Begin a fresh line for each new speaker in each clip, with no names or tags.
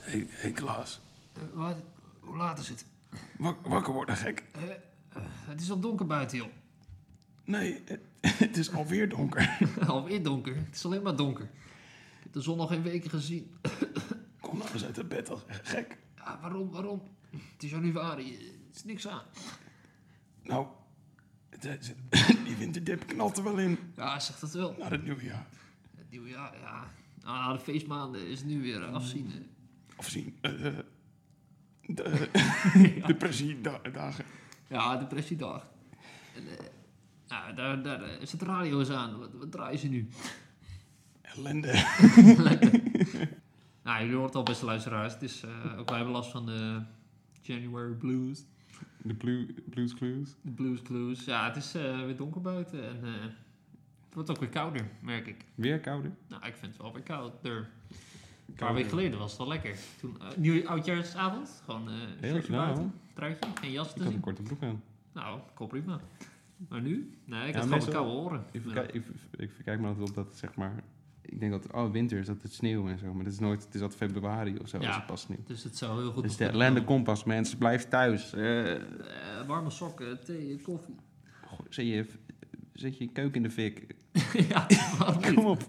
Hé, hey, Klaas.
Eh, wat? Hoe laat is het? Eh,
Wak- wakker worden, gek.
Het is al donker buiten, joh.
Nee, het, het is alweer donker.
Alweer donker. Het is alleen maar donker. Ik heb de zon nog geen weken gezien.
Kom nou eens uit het bed, als gek.
Ja, waarom, waarom? Het is januari. eh, Het is niks aan.
Nou, het, het- die winterdip knalt er wel in
Ja, zeg dat wel.
naar het nieuwjaar.
Het nieuwe jaar, ja. Ah, de feestmaanden is nu weer afzien. eh.
Of zien. eh, eh, de depressiedagen.
Ja, depressiedag. En, eh, ja, daar, daar eh, is het radio eens aan. Wat, wat draaien ze nu?
Ellende.
Nou, jullie hoort al beste luisteraars. Het is, eh, ook wij hebben last van de January Blues.
De blue, Blues Clues.
De Blues Clues. Ja, het is eh, weer donker buiten en eh, het wordt ook weer kouder, merk ik.
Weer kouder.
Nou, ik vind het wel weer kouder. Een paar weken geleden was het wel lekker. Toen, eh, nieuw oudjaarsavond, gewoon eh
Heel
shirtje
nou.
buiten, truitje, geen jas
Ik
te
had een
zien.
korte broek aan.
Nou, kom prima. Maar nu? Nee, ik had
Ja,
gewoon
meestal-
koude oren.
Ik,
Maar-
verkijk, ik, ik verkijk me altijd op dat, zeg maar... Ik denk dat, oh, winter is altijd sneeuw en zo. Maar dat is nooit, het is altijd februari of zo
Ja.
als het pas sneeuw.
Dus het zou heel goed...
Dus de ellende kompas, mensen. Blijf thuis. Eh,
Eh, warme sokken, thee, koffie.
goh, zet, je, zet je keuken in de fik.
ja, waarom niet?
Kom op.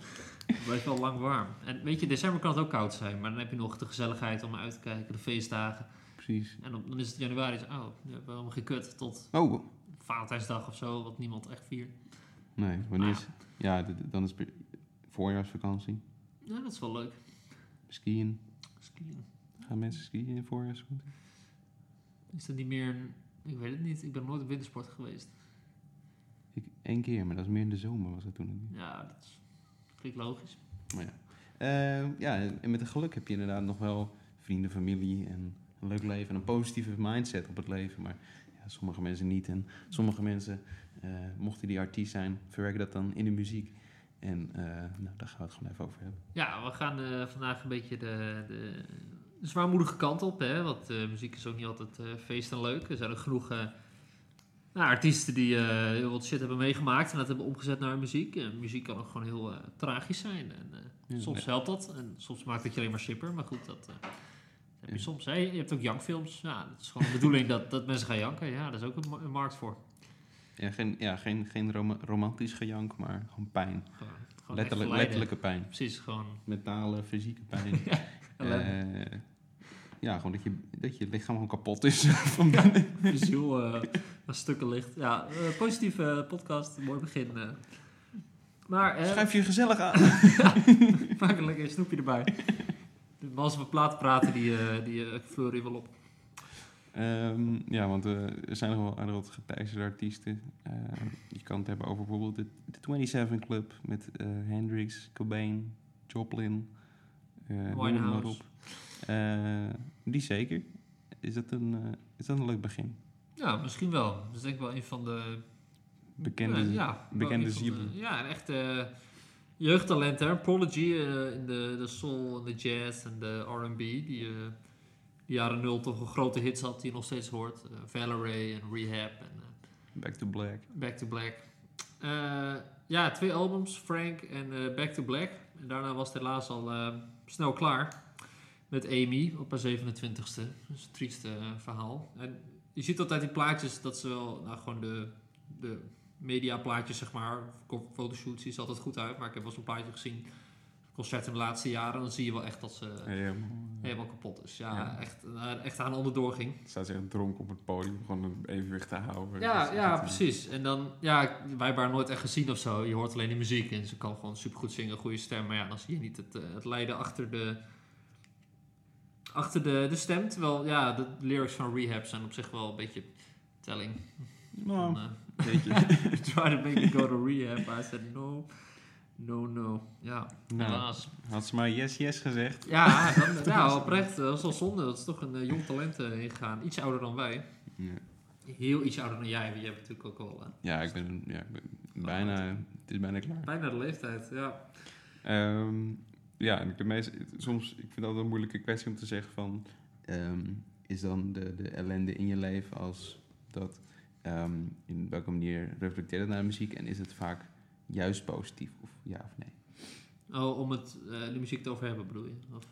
Het blijft wel lang warm. En weet je, december kan het ook koud zijn, maar dan heb je nog de gezelligheid om uit te kijken, de feestdagen.
Precies.
En dan, dan is het januari, zo, oh, ja, waarom gekut tot
Oh,
Valentijnsdag of zo, wat niemand echt viert.
nee. Wanneer
Ah.
is... Ja, d- dan is het pre- voorjaarsvakantie.
Ja, dat is wel leuk.
Skiën.
Skiën.
Gaan mensen skiën in voorjaarsvakantie?
Is dat niet meer een... Ik weet het niet, ik ben nooit op wintersport geweest.
Ik, één keer, maar dat is meer in de zomer was dat toen.
Ja, dat is, klinkt logisch.
Maar ja. Eh, ja, en met een geluk heb je inderdaad nog wel vrienden, familie en een leuk leven en een positieve mindset op het leven. Maar ja, sommige mensen niet. En sommige mensen, eh, mochten die artiest zijn, verwerken dat dan in de muziek. En eh, nou, daar gaan we het gewoon even over hebben.
Ja, we gaan eh, vandaag een beetje de, de, de zwaarmoedige kant op. Hè? Want eh, muziek is ook niet altijd eh, feest en leuk. Er zijn ook genoeg eh, nou, artiesten die eh, heel wat shit hebben meegemaakt en dat hebben omgezet naar muziek. En muziek kan ook gewoon heel eh, tragisch zijn. En, eh,
Ja,
soms helpt dat en soms maakt het je alleen maar shipper. Maar goed, dat eh, heb je
Ja.
soms. Hè? Je hebt ook jankfilms. Ja, dat is gewoon de bedoeling dat, dat mensen gaan janken. Ja, daar is ook een, ma- een markt voor.
Ja, geen, ja, geen, geen rom- romantisch gejank, maar gewoon pijn.
Gewoon, gewoon echt
Letterlijk,
lijden.
letterlijke pijn.
Precies, gewoon.
Mentale, fysieke pijn.
ellende.
Eh, ja, gewoon dat je, dat je lichaam gewoon kapot is. van
Ja, mijn ziel eh, aan stukken ligt. Ja, eh, positieve eh, podcast, mooi begin. eh. Maar eh,
Schrijf je gezellig aan.
maak een lekker snoepje erbij. De man als we plaat praten, die, eh, die eh, fleuren wel op.
Ehm, ja, want eh, er zijn nog wel aardig wat geteisterde artiesten. Eh, je kan het hebben over bijvoorbeeld de, de 27 Club met eh, Hendrix, Cobain, Joplin. eh, noem het maar
Winehouse.
op. Eh, die zeker. Is dat, een, eh, is dat een leuk begin?
Ja, misschien wel. Dat is denk ik wel een van de...
Bekende,
eh, ja, wel
bekende
een van de-
zielen.
Ja, een echt eh, jeugdtalent, hè. Prodigy eh, in de, de soul en de jazz en de R&B. Die eh, de jaren nul toch een grote hits had die je nog steeds hoort. Eh, Valerie en Rehab en... eh,
Back to Black.
Back to Black. Eh, ja, twee albums, Frank en eh, Back to Black. En daarna was het helaas al eh, snel klaar met Amy op haar 27ste. Dat is een trieste eh, verhaal. En je ziet altijd in plaatjes dat ze wel, nou gewoon de, de mediaplaatjes zeg maar, ko- fotoshoots, die ze altijd goed uit. Maar ik heb wel eens een plaatje gezien, concerten in de laatste jaren, dan zie je wel echt dat ze
Ja,
helemaal kapot is. Ja,
Ja.
Echt, eh, echt aan onderdoor ging.
Staat zich dronken op het podium, gewoon een evenwicht te houden.
Ja, ja,
eh,
precies. En dan, ja, wij hebben haar nooit echt gezien of zo. Je hoort alleen de muziek en ze kan gewoon supergoed zingen, goede stem. Maar ja, dan zie je niet het, eh, het lijden achter de, achter de, de stem. Terwijl, ja, de lyrics van Rehab zijn op zich wel een beetje telling. Van, eh,
Nou, weet je.
try to make me go to rehab. I said no, no, no. Ja,
Nou,
helaas.
had ze maar yes, yes gezegd.
Ja, dan, ja, oprecht. Dat is wel zonde. Dat is toch een eh, jong talent eh, heen gegaan. Iets ouder dan wij.
Ja.
Heel iets ouder dan jij. want Jij hebt natuurlijk ook al eh,
Ja, ik ben, ja, ik ben bijna, het is bijna klaar.
bijna de leeftijd, ja.
Ehm, ja, en de meeste, soms, ik vind het altijd een moeilijke kwestie om te zeggen van, ehm, is dan de, de ellende in je leven als dat, ehm, in welke manier reflecteert het naar de muziek en is het vaak juist positief of ja of nee?
Oh, om het, eh, de muziek te over hebben bedoel je? Of?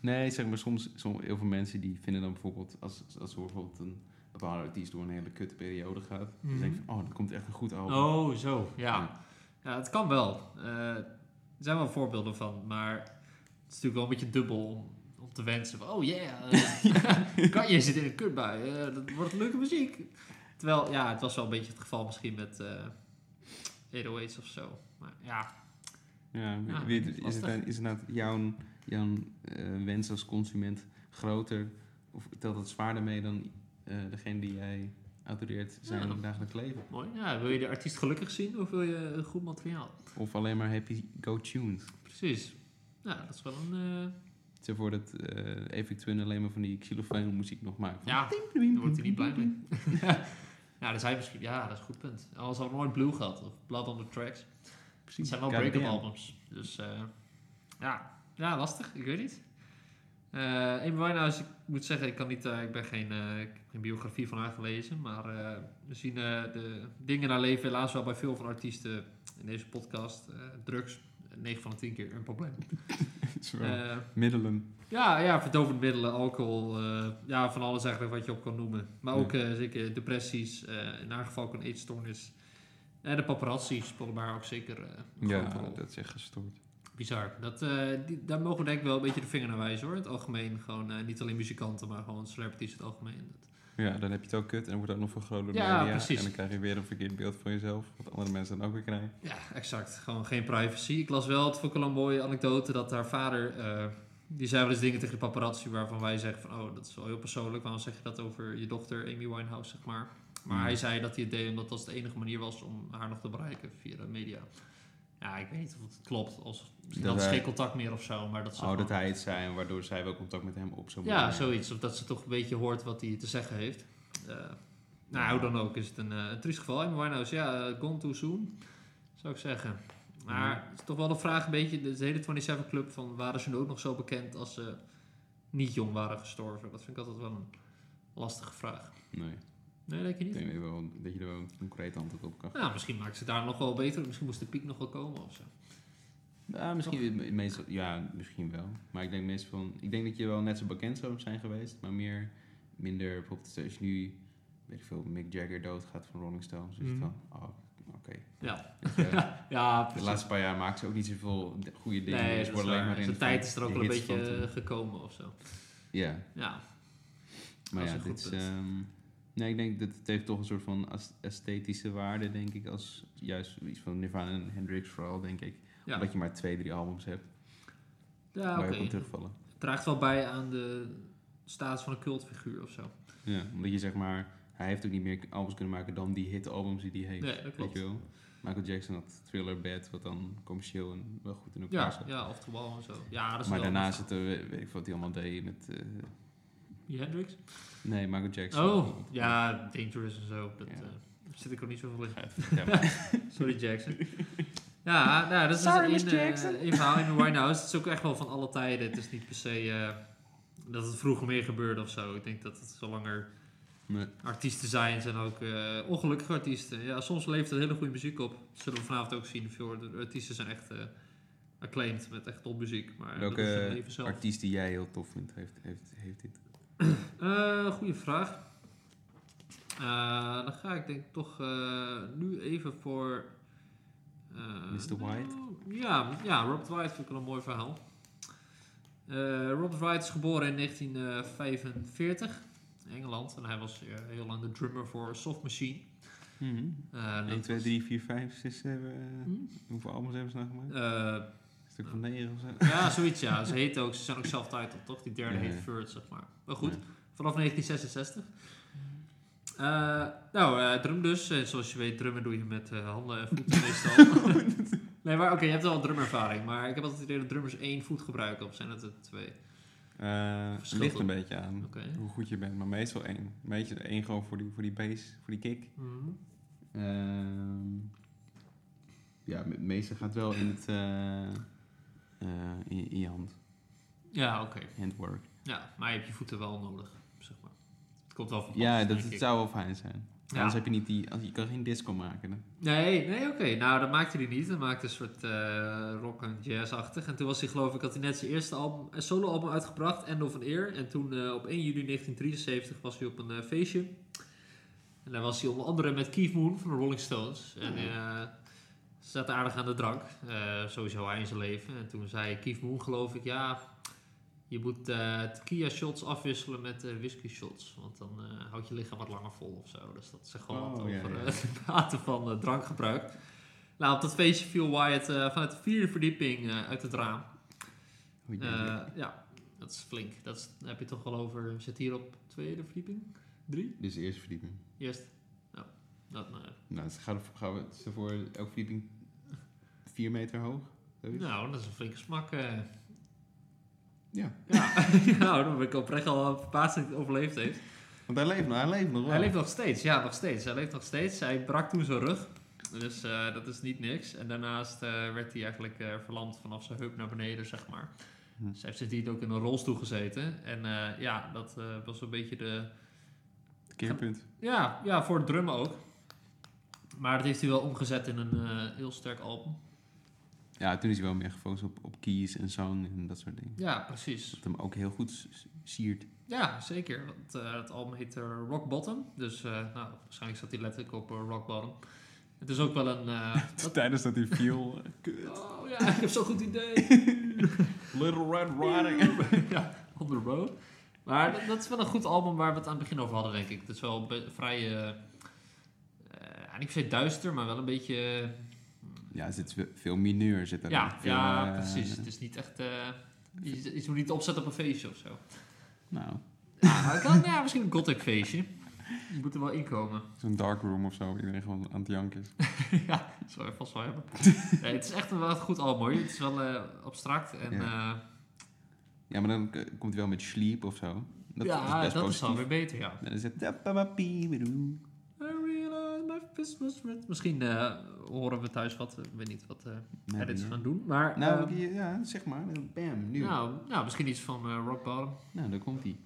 Nee, zeg maar, soms, soms heel veel mensen die vinden dan bijvoorbeeld, als, als er bijvoorbeeld een bepaalde artiest door een hele kutte periode gaat,
Mhm.
dan denk je van, oh, dan komt echt een goed album.
Oh, zo. Ja. ja, het kan wel. Eh, er zijn wel voorbeelden van, maar het is natuurlijk wel een beetje dubbel om, om te wensen. Van, oh yeah, eh, kan je zit in een kutbui. eh, dat wordt leuke muziek. Terwijl, ja, het was wel een beetje het geval misschien met eh 808's of zo. Maar ja,
Ja,
Ja, Ah, dat is
weet- is, het,
lastig.
dan- is inderdaad jouw, jouw eh, wens als consument groter, of telt dat zwaarder mee dan eh, degene die jij adoreert zijn
Ja.
dagelijks leven?
mooi. Ja, wil je de artiest gelukkig zien of wil je een goed materiaal?
Of alleen maar happy go tunes?
Precies. Ja, dat is wel een... eh,
Stel voor dat eh Epic Twin alleen maar van die xylofoon muziek nog maakt.
ja, daar wordt hij niet blij mee. ja, dat zijn misschien... Ja, dat is een goed punt. Anders hadden we nooit Blue gehad of Blood on the Tracks. Het zijn wel
Goddamn.
break-up albums. Dus eh, ja. ja, lastig. Ik weet niet. Eh Amy Winehouse, ik moet zeggen, ik, kan niet, eh, ik ben geen, eh, ik heb geen biografie van haar gelezen. Maar eh, we zien eh, de dingen in haar leven helaas wel bij veel van artiesten in deze podcast. Eh, drugs, 9 van de 10 keer een probleem.
Zwaar.
Eh,
Middelen.
ja, ja, verdovend middelen, alcohol, eh, ja, van alles eigenlijk wat je op kan noemen. Maar ook eh, zeker depressies, eh, in haar geval ook een eetstoornis. En de paparazzi spelen maar ook zeker eh, een grote
Ja,
rol.
dat is echt gestoord.
Bizar. Dat, eh, die- daar mogen we denk ik wel een beetje de vinger naar wijzen hoor. In het algemeen. Gewoon eh, niet alleen muzikanten, maar gewoon celebrities in het algemeen. Dat-
Ja, dan heb je het ook kut en wordt ook nog vergroot door de
Ja,
media.
precies.
En dan krijg je weer een verkeerd beeld van jezelf, wat andere mensen dan ook weer krijgen.
Ja, exact. Gewoon geen privacy. Ik las wel, het vond ik wel een mooie anekdote, dat haar vader... eh, die zei wel eens dingen tegen de paparazzi waarvan wij zeggen van... Oh, dat is wel heel persoonlijk. Waarom zeg je dat over je dochter Amy Winehouse, zeg maar? Maar
Mm.
hij zei dat hij het deed omdat dat de enige manier was om haar nog te bereiken via de media. Ja, ik weet niet of het klopt. Als, misschien
Dat
hadden ze
hij-
geen contact meer of zo, maar dat ze
Oh, dat
gewoon-
hij het zei en waardoor zij wel contact met hem op zou
Ja,
moeten nemen.
zoiets. Of dat ze toch een beetje hoort wat hij te zeggen heeft. Eh, nou,
Ja.
hoe dan ook is het een, eh een triest geval. En Winehouse, ja, eh, gone too soon, zou ik zeggen. Maar
Mhm.
het is toch wel de vraag een beetje, de hele 27 Club, van waren ze nu ook nog zo bekend als ze niet jong waren gestorven? Dat vind ik altijd wel een lastige vraag.
Nee,
Nee, denk je
ik
niet?
denk wel dat je er wel een concreet antwoord op kan
Nou, misschien maakt ze daar nog wel beter. Misschien moest de piek nog wel komen of zo.
Ja, misschien, me- meestal, ja, misschien wel. Maar ik denk meestal van... Ik denk dat je wel net zo bekend zou zijn geweest, maar meer... Minder bijvoorbeeld als je nu, weet ik veel, Mick Jagger doodgaat van Rolling Stones. Dus
Mhm.
dan, oh, oké.
Ja,
Weet je,
ja
De
precies.
laatste paar jaar maakt ze ook niet zoveel de- goede dingen.
nee, dat
dus
is
worden alleen
waar.
maar
Zijn
in de
tijd
van-
is er ook
de
wel een
hits van
beetje
toen.
eh, gekomen of zo.
Ja,
Ja, Dat
maar
is een
ja, dit
goed
is...
punt.
ehm, nee, ik denk dat het heeft toch een soort van as- esthetische waarde, denk ik. Als juist iets van Nirvana en Hendrix vooral, denk ik.
Ja.
Omdat je maar twee, drie albums hebt
ja
waar
oké.
je op kan terugvallen.
draagt wel bij aan de status van een cultfiguur of zo.
Ja, omdat je zeg maar, hij heeft ook niet meer albums kunnen maken dan die hitalbums die hij heeft.
Nee, dat klopt.
Weet je wel? Michael Jackson had Thriller Bad, wat dan commercieel en wel goed in elkaar
Ja,
zat.
ja, off the wall en zo. Ja, dat is
maar
wel
daarna zit er, weet weet ik veel wat hij allemaal deed met, eh,
Die Hendrix?
nee, Michael Jackson.
Oh, ja, Dangerous en zo. Dat,
Ja.
eh, daar zit ik ook niet zoveel in.
Ja, maar-
Sorry, Jackson. Ja, nou, dat is dus
Sorry,
één,
Miss
eh,
Jackson.
één verhaal in de Winehouse. Het is ook echt wel van alle tijden. Het is niet per se eh, dat het vroeger meer gebeurde of zo. Ik denk dat het zolang er
Nee.
artiesten zijn, zijn ook eh, ongelukkige artiesten. Ja, soms levert het hele goede muziek op. Dat zullen we vanavond ook zien. Veel de artiesten zijn echt eh, acclaimed met echt topmuziek. Maar dat is het
Welke
leven zelf.
artiest die jij heel tof vindt, heeft, heeft, heeft dit?
Eh, goeie vraag. Eh, dan ga ik denk ik toch eh, nu even voor... eh,
Mr. White?
Ja, ja, Robert White vind ik wel een mooi verhaal. Eh, Robert White is geboren in 1945 in Engeland. En hij was eh, heel lang de drummer voor Soft Machine. Eh, dat
1, 2,
was-
3, 4, 5, 6, 7.
Hm?
eh, Hoeveel albums hebben ze nou gemaakt?
Eh,
Een stuk van 9 of zo?
ja, zoiets ja. Ze, heet ook, ze zijn ook self-titled, toch? Die derde
Ja,
heet
ja.
Third, zeg maar. Maar goed,
Nee.
vanaf 1966. Eh, nou, eh, drum dus. Eh, zoals je weet, drummen doe je met eh, handen en voeten meestal. nee, maar oké, je hebt wel drumervaring. Maar ik heb altijd het idee dat drummers één voet gebruiken. Of zijn dat er twee?
Eh, Het
Verschil
ligt een
toch?
beetje aan
Oké.
hoe goed je bent, maar meestal één. Meestal één gewoon voor die, voor die bass, voor die kick.
Mhm.
Ehm, ja, me- meestal gaat wel in, het, eh, eh, in, je- in je hand,
Ja, oké.
handwork.
Ja, maar je hebt je voeten wel nodig, zeg maar. Het komt wel van pas,
Ja, dat
denk
het
ik.
zou wel fijn zijn. Anders heb je niet die... als- Je kan geen disco maken. hè.
Nee, nee, oké. Nou, dat maakte hij niet. Hij maakte een soort eh, rock en jazz-achtig. En toen was hij, geloof ik, had hij net zijn eerste album, een solo-album uitgebracht, End of an Ear. En toen eh, op 1 juli 1973 was hij op een eh, feestje. En daar was hij onder andere met Keith Moon van de Rolling Stones. En eh, ze zaten aardig aan de drank. eh, sowieso hij in zijn leven. En toen zei Keith Moon, geloof ik, ja, je moet eh tequila shots afwisselen met eh, whisky shots. Want dan eh, houdt je lichaam wat langer vol of zo. Dus dat zegt gewoon wat
Oh, ja,
over
ja.
eh, de mate van eh, drankgebruik. Nou, op dat feestje viel Wyatt eh, vanuit de vierde verdieping eh, uit het raam.
Hoe je denkt.
Eh, ja, dat is flink. Dat is, dan heb je toch wel over... We zitten hier op tweede verdieping? Drie?
Dus de eerste verdieping.
Eerst? Nou, dat... nou ja.
Nou, ze gaan, gaan we ze voor elke verdieping 4 meter hoog. zoiets?
Nou, dat is een flinke smak. eh.
Ja.
Ja, nou, dan ben ik oprecht al verbaasd dat hij het overleefd heeft.
Want hij leeft nog, hij leeft nog wel.
Hij leeft nog steeds, ja, nog steeds. Hij leeft nog steeds. Hij brak toen zijn rug. Dus eh, dat is niet niks. En daarnaast eh, werd hij eigenlijk eh, verlamd vanaf zijn heup naar beneden, zeg maar.
Hm.
Dus hij heeft sindsdien ook in een rolstoel gezeten. En eh, ja, dat eh, was een beetje de...
Keerpunt.
Ja, ja, voor het drummen ook. Maar dat heeft hij wel omgezet in een eh, heel sterk album.
Ja, toen is hij wel meer gefocust op, op keys en zang en dat soort dingen.
Ja, precies.
Dat hem ook heel goed s- s- siert.
Ja, zeker. Want eh, het album heet eh, Rock Bottom. Dus eh, nou, waarschijnlijk zat hij letterlijk op eh, Rock Bottom. Het is ook wel een... eh, dat-
Tijdens dat hij viel. eh,
Oh ja, ik heb zo'n goed idee.
Little Red Riding.
ja, on the road. Maar dat, dat is wel een goed album waar we het aan het begin over hadden, denk ik. Het is wel be- vrij, eh, eh, ja, niet per se duister, maar wel een beetje...
Ja, er zit ve- veel mineur. Zit erin.
ja,
Veel,
ja,
eh,
precies. Het is niet echt... eh iets, iets moet je niet opzetten op een feestje of zo.
Nou,
Ja, maar ik kan, ja, misschien een gothic feestje. Je moet er wel inkomen.
zo'n dark room of zo. Iedereen gewoon aan het janken is.
ja, dat zou je vast wel hebben. Nee, het is echt een, wel een goed album, hoor. Het is wel eh, abstract en...
Ja.
eh,
Ja, maar dan k- komt hij wel met sleep of zo. Dat
ja,
is best
dat is
positief.
alweer beter, ja.
Dan is het... tapapapiebedoe.
I realize my Christmas red. Misschien eh, horen we thuis wat. Ik weet niet wat eh
Nee,
edits
ja.
gaan doen. Maar
Nou,
ehm,
die- ja, zeg maar. Bam, nu.
nou, nou, misschien iets van eh, Rock Bottom.
Nou, daar komt hij.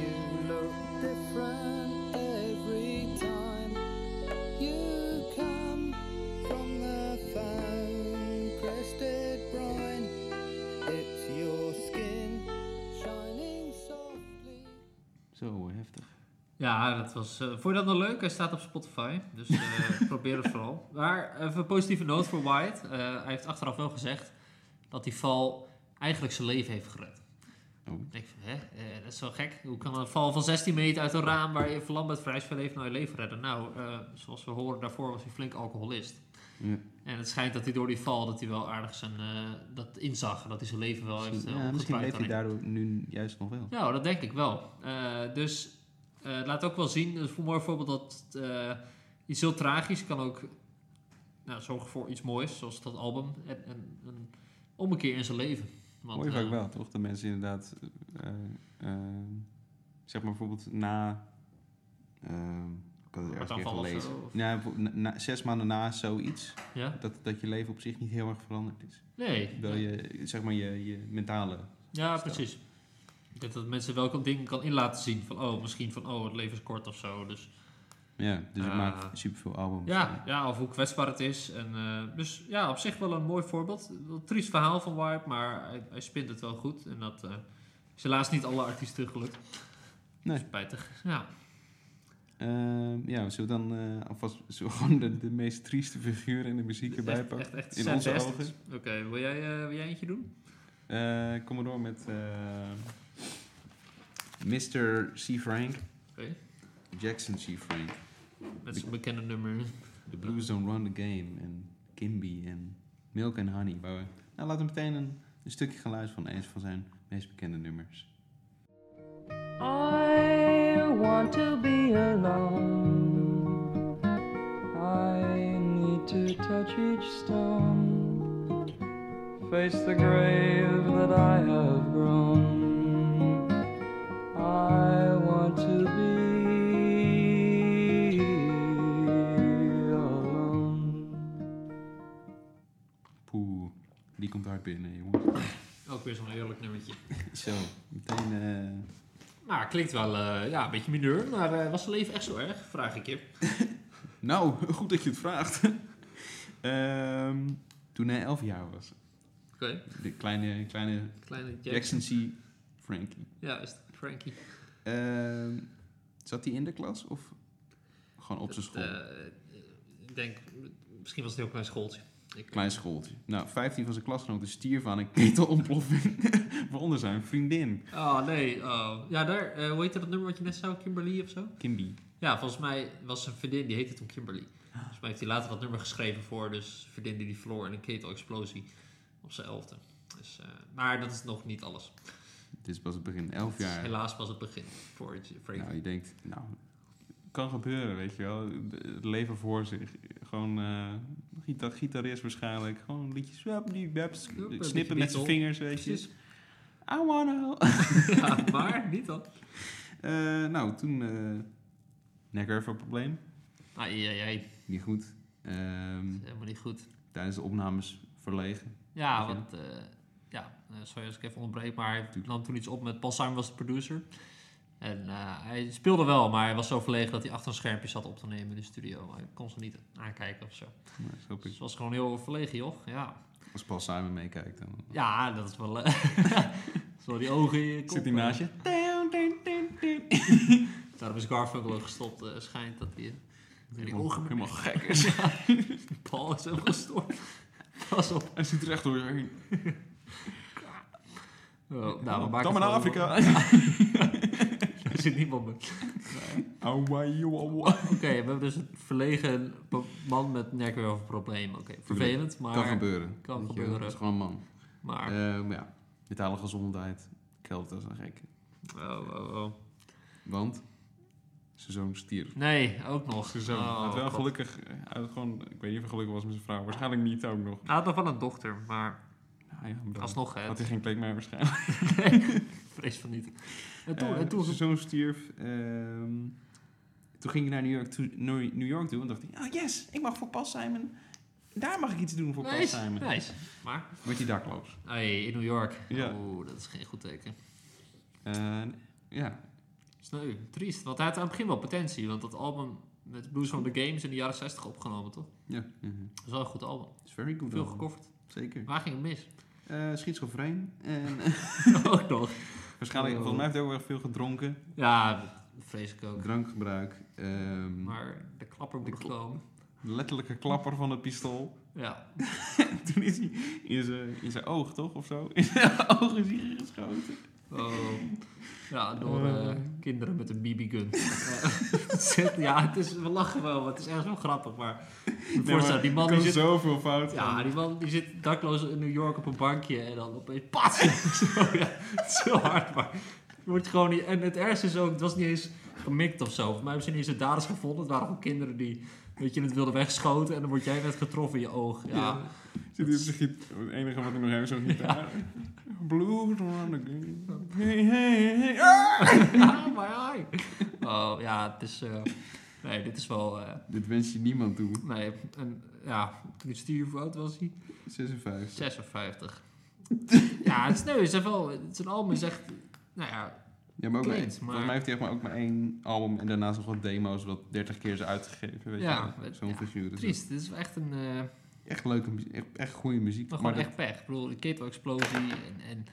You look different every time you come from the phone, crested brine. It's your skin shining softly.
Zo heftig.
Ja, dat was. eh, vond je dat nog leuk? Hij staat op Spotify. Dus eh, probeer het vooral. Maar even een positieve noot voor White. Eh, hij heeft achteraf wel gezegd dat die val eigenlijk zijn leven heeft gered.
Oh.
Ik denk van, hè, Eh, dat is wel gek. Hoe kan een val van 16 meter uit een raam waar je verlamd bent, vrij veel heeft, nou je leven redden? Nou, eh, zoals we horen, daarvoor was hij flink alcoholist.
Ja.
En het schijnt dat hij door die val dat hij wel aardig zijn, eh, dat inzag. en Dat hij zijn leven wel heeft uh,
Ja, misschien leeft hij daardoor nu juist nog wel.
nou, dat denk ik wel. Eh, dus eh, het laat ook wel zien, dus voor mooi voorbeeld dat eh, iets heel tragisch kan ook nou, zorgen voor iets moois, zoals dat album. En, en een ommekeer in zijn leven. Want,
Hoor je
eh,
vaak wel, toch? Dat mensen inderdaad, eh, eh, zeg maar bijvoorbeeld na... eh, ik had het ergens een keer
Hartaanval of
gelezen.
zo, of-
Ja, bijvoorbeeld na, na- zes maanden na zoiets,
Ja?
dat, dat je leven op zich niet heel erg veranderd is.
Nee.
Wel je, zeg maar, je, je mentale...
Ja,
Stel.
precies. Ik denk dat mensen wel kan- dingen kan in laten zien. Van, oh, misschien van, oh, het leven is kort of zo. Dus,
Ja, dus ik
Ah.
maak superveel albums.
ja, ja, of hoe kwetsbaar het is. En, eh, dus ja, op zich wel een mooi voorbeeld. Wel Een triest verhaal van Wired, maar hij, hij spint het wel goed. En dat eh, is helaas niet alle artiesten gelukt.
Nee.
Spijtig. Ja.
Ehm, ja, zullen we dan eh, alvast zullen we gewoon de, de meest trieste figuur in de muziek erbij
echt,
pakken?
echt, echt
in onze
saddest.
ogen.
Oké, wil, jij, eh, wil jij eentje doen?
Eh, kom maar door met eh, Mr. C. Frank.
Oké.
Jackson C. Frank.
Met zijn bekende nummer.
The Blues Don't Run the Game. En Kimby. En Milk and Honey. Waar we- nou, laten we meteen een, een stukje geluid van eens van zijn meest bekende nummers.
I want to be alone. I need to touch each stone. face the grave that I have grown. I want to be alone.
Poeh, die komt hard binnen, jongens.
Ook weer zo'n heerlijk nummertje.
Zo, meteen... eh,
Nou, klinkt wel eh, ja, een beetje mineur, maar eh, was zijn leven echt zo erg? Vraag ik je.
Nou, goed dat je het vraagt. Ehm, toen hij elf jaar was.
Oké,
De kleine, kleine
kleine Jackson.
Jackson C. Frankie.
Ja, is het Frankie.
Ehm, zat hij in de klas of gewoon op zijn school?
Eh, ik denk, misschien was het een heel klein schooltje. Ik,
Klein schooltje. Nou, 15 van zijn klasgenoten stierf aan een ketelontploffing. Waaronder zijn vriendin,
Oh nee, oh. ja daar, eh, hoe heette dat nummer wat je net zei, Kimberly of zo?
Kimby.
Ja, volgens mij was zijn vriendin, die heette toen Kimberly. Volgens mij heeft hij later dat nummer geschreven voor, dus vriendin die die verloor in een ketelexplosie op zijn elfde. Dus, eh, maar dat is nog niet alles.
Dit is pas het begin,
Het
11
is
jaar.
Helaas was het begin voor het- Frankie.
Nou, je denkt, nou, kan gebeuren, weet je wel. Het leven voor zich. Gewoon eh gita- gitarist waarschijnlijk. Gewoon liedjes, wap, die wap,
beetje
snippen met
Beatle.
zijn vingers, weet je.
Precies.
I wanna.
ja, maar niet dan.
Eh, nou, toen eh nekker voor probleem.
Ai, ai, ai.
Niet goed. Ehm,
Dat is helemaal niet goed.
tijdens de opnames verlegen.
Ja,
Weet je
want eh, ja, eh, sorry als ik even onderbreek, maar hij nam toen iets op met Paul Simon was de producer. En eh, hij speelde wel, maar hij was zo verlegen dat hij achter een schermpje zat op te nemen in de studio. Hij kon ze niet aankijken of zo.
Nou, dat snap
Dus
ik.
het was gewoon heel verlegen, joh. Ja,
Als Paul Simon meekijkt, dan
ja dat is wel... eh, Zo die ogen in je kop.
zit hij naast je.
Eh, Daarom is Garfunkel ook gestopt. eh, schijnt dat hij... eh, die
Helemaal,
ogen-
helemaal gek.
Paul is helemaal gestoord. Pas op.
Hij zit er echt door je heen.
Oh, nou, we maken
Dan maar
het
naar
wel-
Afrika.
Er zit niemand meer.
Hawaii, Hawaii.
Oké, we hebben dus een verlegen po- man met nekwervelproblemen. Oké, vervelend, maar...
Kan gebeuren.
Kan
Weet je wel,
gebeuren.
Dat is gewoon een man.
Maar,
Eh, maar ja, mentale gezondheid geldt als een gek.
oh, oh, oh.
Want zijn zoon stierf.
Nee, ook nog.
Zijn zoon.
Oh,
Hij had wel
God.
gelukkig, eh, hij had gewoon, ik weet niet of hij gelukkig was met zijn vrouw. Waarschijnlijk niet ook nog.
Hij had nog wel een dochter, maar
Ja, ja, maar dan
alsnog, hè.
had hij geen plek meer waarschijnlijk.
Vrees van niet. En toen,
Eh,
en toen
zijn zoon stierf. ehm, toen ging hij naar New York, toe, New New York toe. En dacht hij, oh yes, ik mag voor Paul Simon. Daar mag ik iets doen voor Paul
nice,
Simon.
nice. Maar,
Werd hij dakloos.
hey, in New York.
Ja.
Oeh, dat is geen goed teken.
Eh, ja,
Sneu, triest. Want hij had aan het begin wel potentie, want dat album met Blues from the Games in de jaren 60 opgenomen, toch?
ja. mhm.
Dat is wel een goed album.
It's very good.
Veel
album.
gecoverd.
Zeker.
Waar ging het mis?
Eh schizofreen. En,
ook nog.
waarschijnlijk,
Oh.
volgens mij heeft hij ook wel veel gedronken.
Ja, dat vrees ik ook.
Drankgebruik. ehm,
Maar de klapper moet
De
nog
kla-
komen.
de letterlijke klapper van het pistool.
Ja.
Toen is hij in zijn, in zijn oog, toch? Of zo? In zijn oog is hij geschoten.
Oh. Ja, door
Eh.
eh, kinderen met een BB-gun. Eh, ja, het is, we lachen wel, want het is echt wel grappig. Maar
Nee,
voorstel,
maar
die man
er
die
kan
zit...
zoveel fout gaan.
Ja, die man die zit dakloos in New York op een bankje en dan opeens pats. zo, ja, het is heel hard, maar het wordt gewoon niet... En het ergste is ook, het was niet eens gemikt of zo. Volgens mij hebben ze niet eens de daders gevonden. Het waren gewoon kinderen die, weet je, het wilden wegschoten en dan word jij net getroffen in je oog. ja.
Zit hij op zijn giet- Het enige wat ik nog heb, zo'n gitaar. Blues on the game. Hey, hey, hey. Ah!
Ah, my eye. Oh ja, het is. eh, nee, dit is wel. eh,
Dit wens je niemand toe.
nee, en, ja, toen ik stuur hoe oud was hij?
56.
56. ja, het is, nee, het is wel. Het is een album is echt. Nou ja,
Ja, maar ook maar,
Klinkt,
één.
maar-
Volgens mij heeft hij echt maar ook maar één album en daarnaast nog wat demo's wat 30 keer is uitgegeven. Weet
Ja,
je, wel.
het-
zo'n
ja,
figuur. Dus
triest. Dit is echt een. eh
Echt leuke muziek, echt, echt goede muziek.
maar
Maar,
gewoon
dat-
echt pech. Ik bedoel, de ketelexplosie en. en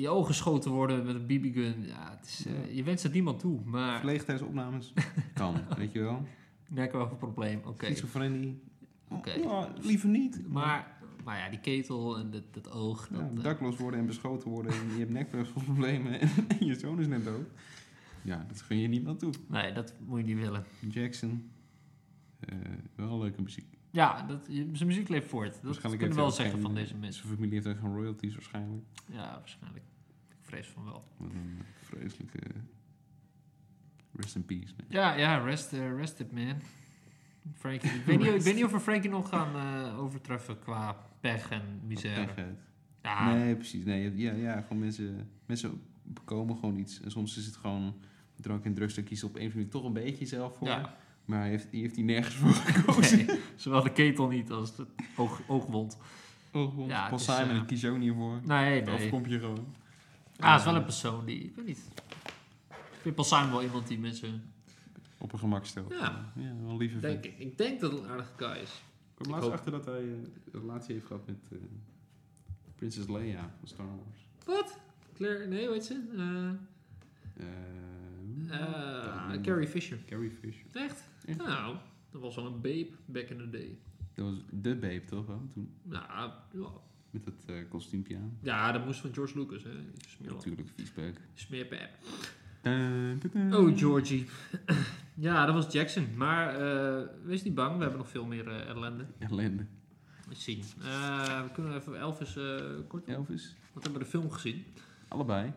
je ogen geschoten worden met een BB-gun. Ja, het is, eh,
Ja.
Je wenst het niemand toe, maar.
verlegen tijdens opnames kan, weet je wel.
Merk wel een probleem. Oké.
Schizofrenie.
Oké.
Ja, liever niet.
Maar, maar ja, die ketel en dat, dat oog.
Ja,
dat, eh,
dakloos worden en beschoten worden en je hebt nekproblemen en je zoon is net dood. Ja, dat gun je niemand toe.
nee, dat moet je niet willen.
Jackson, eh, wel leuke muziek.
Ja, dat, je- zijn muziek leeft voort. Dat
Waarschijnlijk
kunnen we
heeft hij
wel zeggen
ook geen-
van deze mensen.
Zijn familie heeft ook geen royalties waarschijnlijk.
Ja, waarschijnlijk. Ik vrees van wel.
Wat een vreselijke... Rest in peace. nee.
Ja, ja, rest, eh, rest it man. Frankie, ik, weet niet, ik weet niet of we Frankie nog gaan eh, overtreffen qua pech en misère.
Pech uit.
Ja,
Nee, precies. Nee, ja, ja, gewoon mensen, mensen bekomen gewoon iets. En soms is het gewoon drank en drugs. Daar kiest op een of andere manier toch een beetje zelf voor.
ja.
Maar hij heeft, die heeft hij nergens voor gekozen.
Nee, zowel de ketel niet als het oog, oogwond.
Oh,
Ja,
Paul
het is,
Simon,
eh,
ik kies jou niet voor.
Nee,
Dan
nee.
kom je gewoon.
Ah, is wel een persoon die, ik weet niet. Ik vind Paul Simon wel iemand die mensen,
Op een gemak stelt.
Ja.
ja wel lieve vent.
denk ik. Ik denk dat het een aardige guy is.
Ik kwam
Ik
laatst
hoop-
achter dat hij eh, een relatie heeft gehad met eh, Prinses Leia van Star Wars.
Claire, nee, weet ze? Eh,
Eh,
eh,
eh,
Carrie Fisher.
Carrie Fisher.
Echt?
Echt?
Nou, dat was wel een babe back in the day.
Dat was de babe toch wel toen?
Nou, ja.
Met dat eh kostuumpje aan.
ja, dat moest van George Lucas, hè? Die smeer-
Natuurlijk, viesbeuk.
Smeerpijp.
Da, da, da.
Oh, Georgie. ja, dat was Jackson. Maar eh, wees niet bang, we hebben nog veel meer eh, ellende.
Ellende.
Eens zien. Eh, we kunnen even Elvis eh, kort doen.
Elvis.
Want we hebben de film gezien.
Allebei.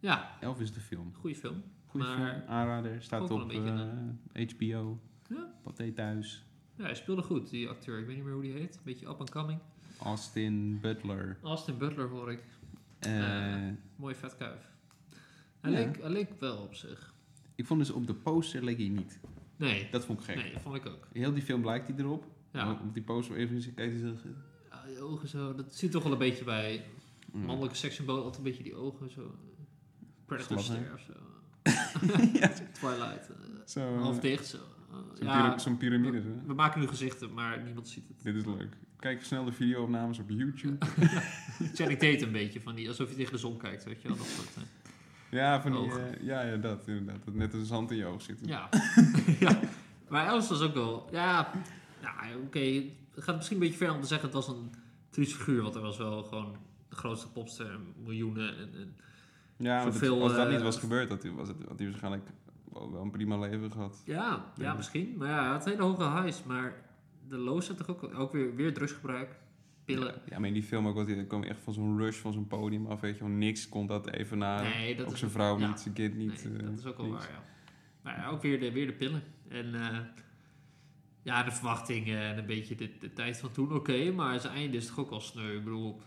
Ja,
Elvis de film.
goede film.
Goeie
Maar-
film. Aanrader. Staat
Ook wel
op
een beetje
eh, HBO.
Ja.
Pathé thuis.
Ja, hij speelde goed, die acteur. Ik weet niet meer hoe die heet. Beetje up and coming.
Austin Butler.
Austin Butler hoor ik.
Eh,
Mooi vet kuif. Hij,
Ja.
leek, hij leek wel op zich.
ik vond dus op de poster leek hij niet.
Nee,
Dat vond ik gek.
nee, dat vond ik ook.
Heel die film lijkt hij erop.
Ja.
Maar op die poster even kijkt hij zo...
Ja, die ogen zo, dat zit toch wel een beetje bij
Ja.
mannelijke sekssymbolen, altijd een beetje die ogen zo. Predator
Slap, hè?
ster of zo. Twilight. eh,
Zo,
half
eh,
dicht zo. Eh,
zo'n
ja,
pyra- zo'n piramide. zo.
we maken nu gezichten, maar niemand ziet het.
Dit is leuk. Kijk snel de videoopnames op YouTube.
Channing Tate een beetje, van die, alsof je tegen de zon kijkt, weet je wel. Dat soort, eh.
Ja, van die,
Ogen.
eh, ja, ja, dat inderdaad. Dat net als zand in je oog zit.
ja. ja. Maar Elvis was ook wel, ja, nou, oké, het gaat misschien een beetje ver om te zeggen, het was een triest figuur, want hij was wel gewoon de grootste popster, en miljoenen en, en
Ja, want het-
Zoveel,
als dat
eh,
niet was gebeurd, had hij, was het, had hij waarschijnlijk wel, wel een prima leven gehad.
Ja, ja,
Ja.
misschien. Maar ja, hij had hele hoge highs. Maar de lows had toch ook, ook weer, weer drugsgebruik, pillen.
Ja, maar in die film ook, wat hij kwam echt van zo'n rush van zo'n podium af, weet je wel. Niks kon dat even na.
nee, dat
ook
is,
zijn vrouw
ja.
niet, zijn kind
nee,
niet. eh,
dat is ook wel
niks.
waar, ja. Maar ja, ook weer de, weer de pillen. En eh, ja, de verwachtingen en een beetje de, de tijd van toen, oké. maar zijn einde is toch ook wel sneu. Ik bedoel,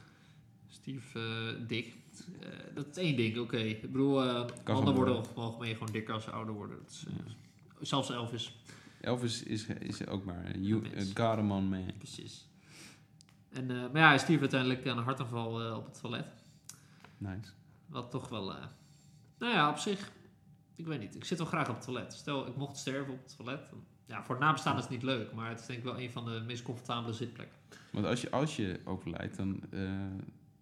Steve eh, dik. Eh, dat is één ding, oké. Ik bedoel, eh, mannen
gewoon
worden
door.
over het algemeen gewoon dikker als ze ouder worden. Dat is, eh,
Ja.
Zelfs Elvis,
Elvis is, is ook maar een you-
Een
a
mens.
God man man.
precies. En, eh, maar ja, hij stierf uiteindelijk aan een hartaanval eh, op het toilet.
Nice.
Wat toch wel. eh, nou ja, op zich. Ik weet niet. Ik zit wel graag op het toilet. Stel, ik mocht sterven op het toilet. dan- ja, voor het nabestaan is het niet leuk. Maar het is denk ik wel een van de meest comfortabele zitplekken.
Want als je, als je overlijdt, dan eh,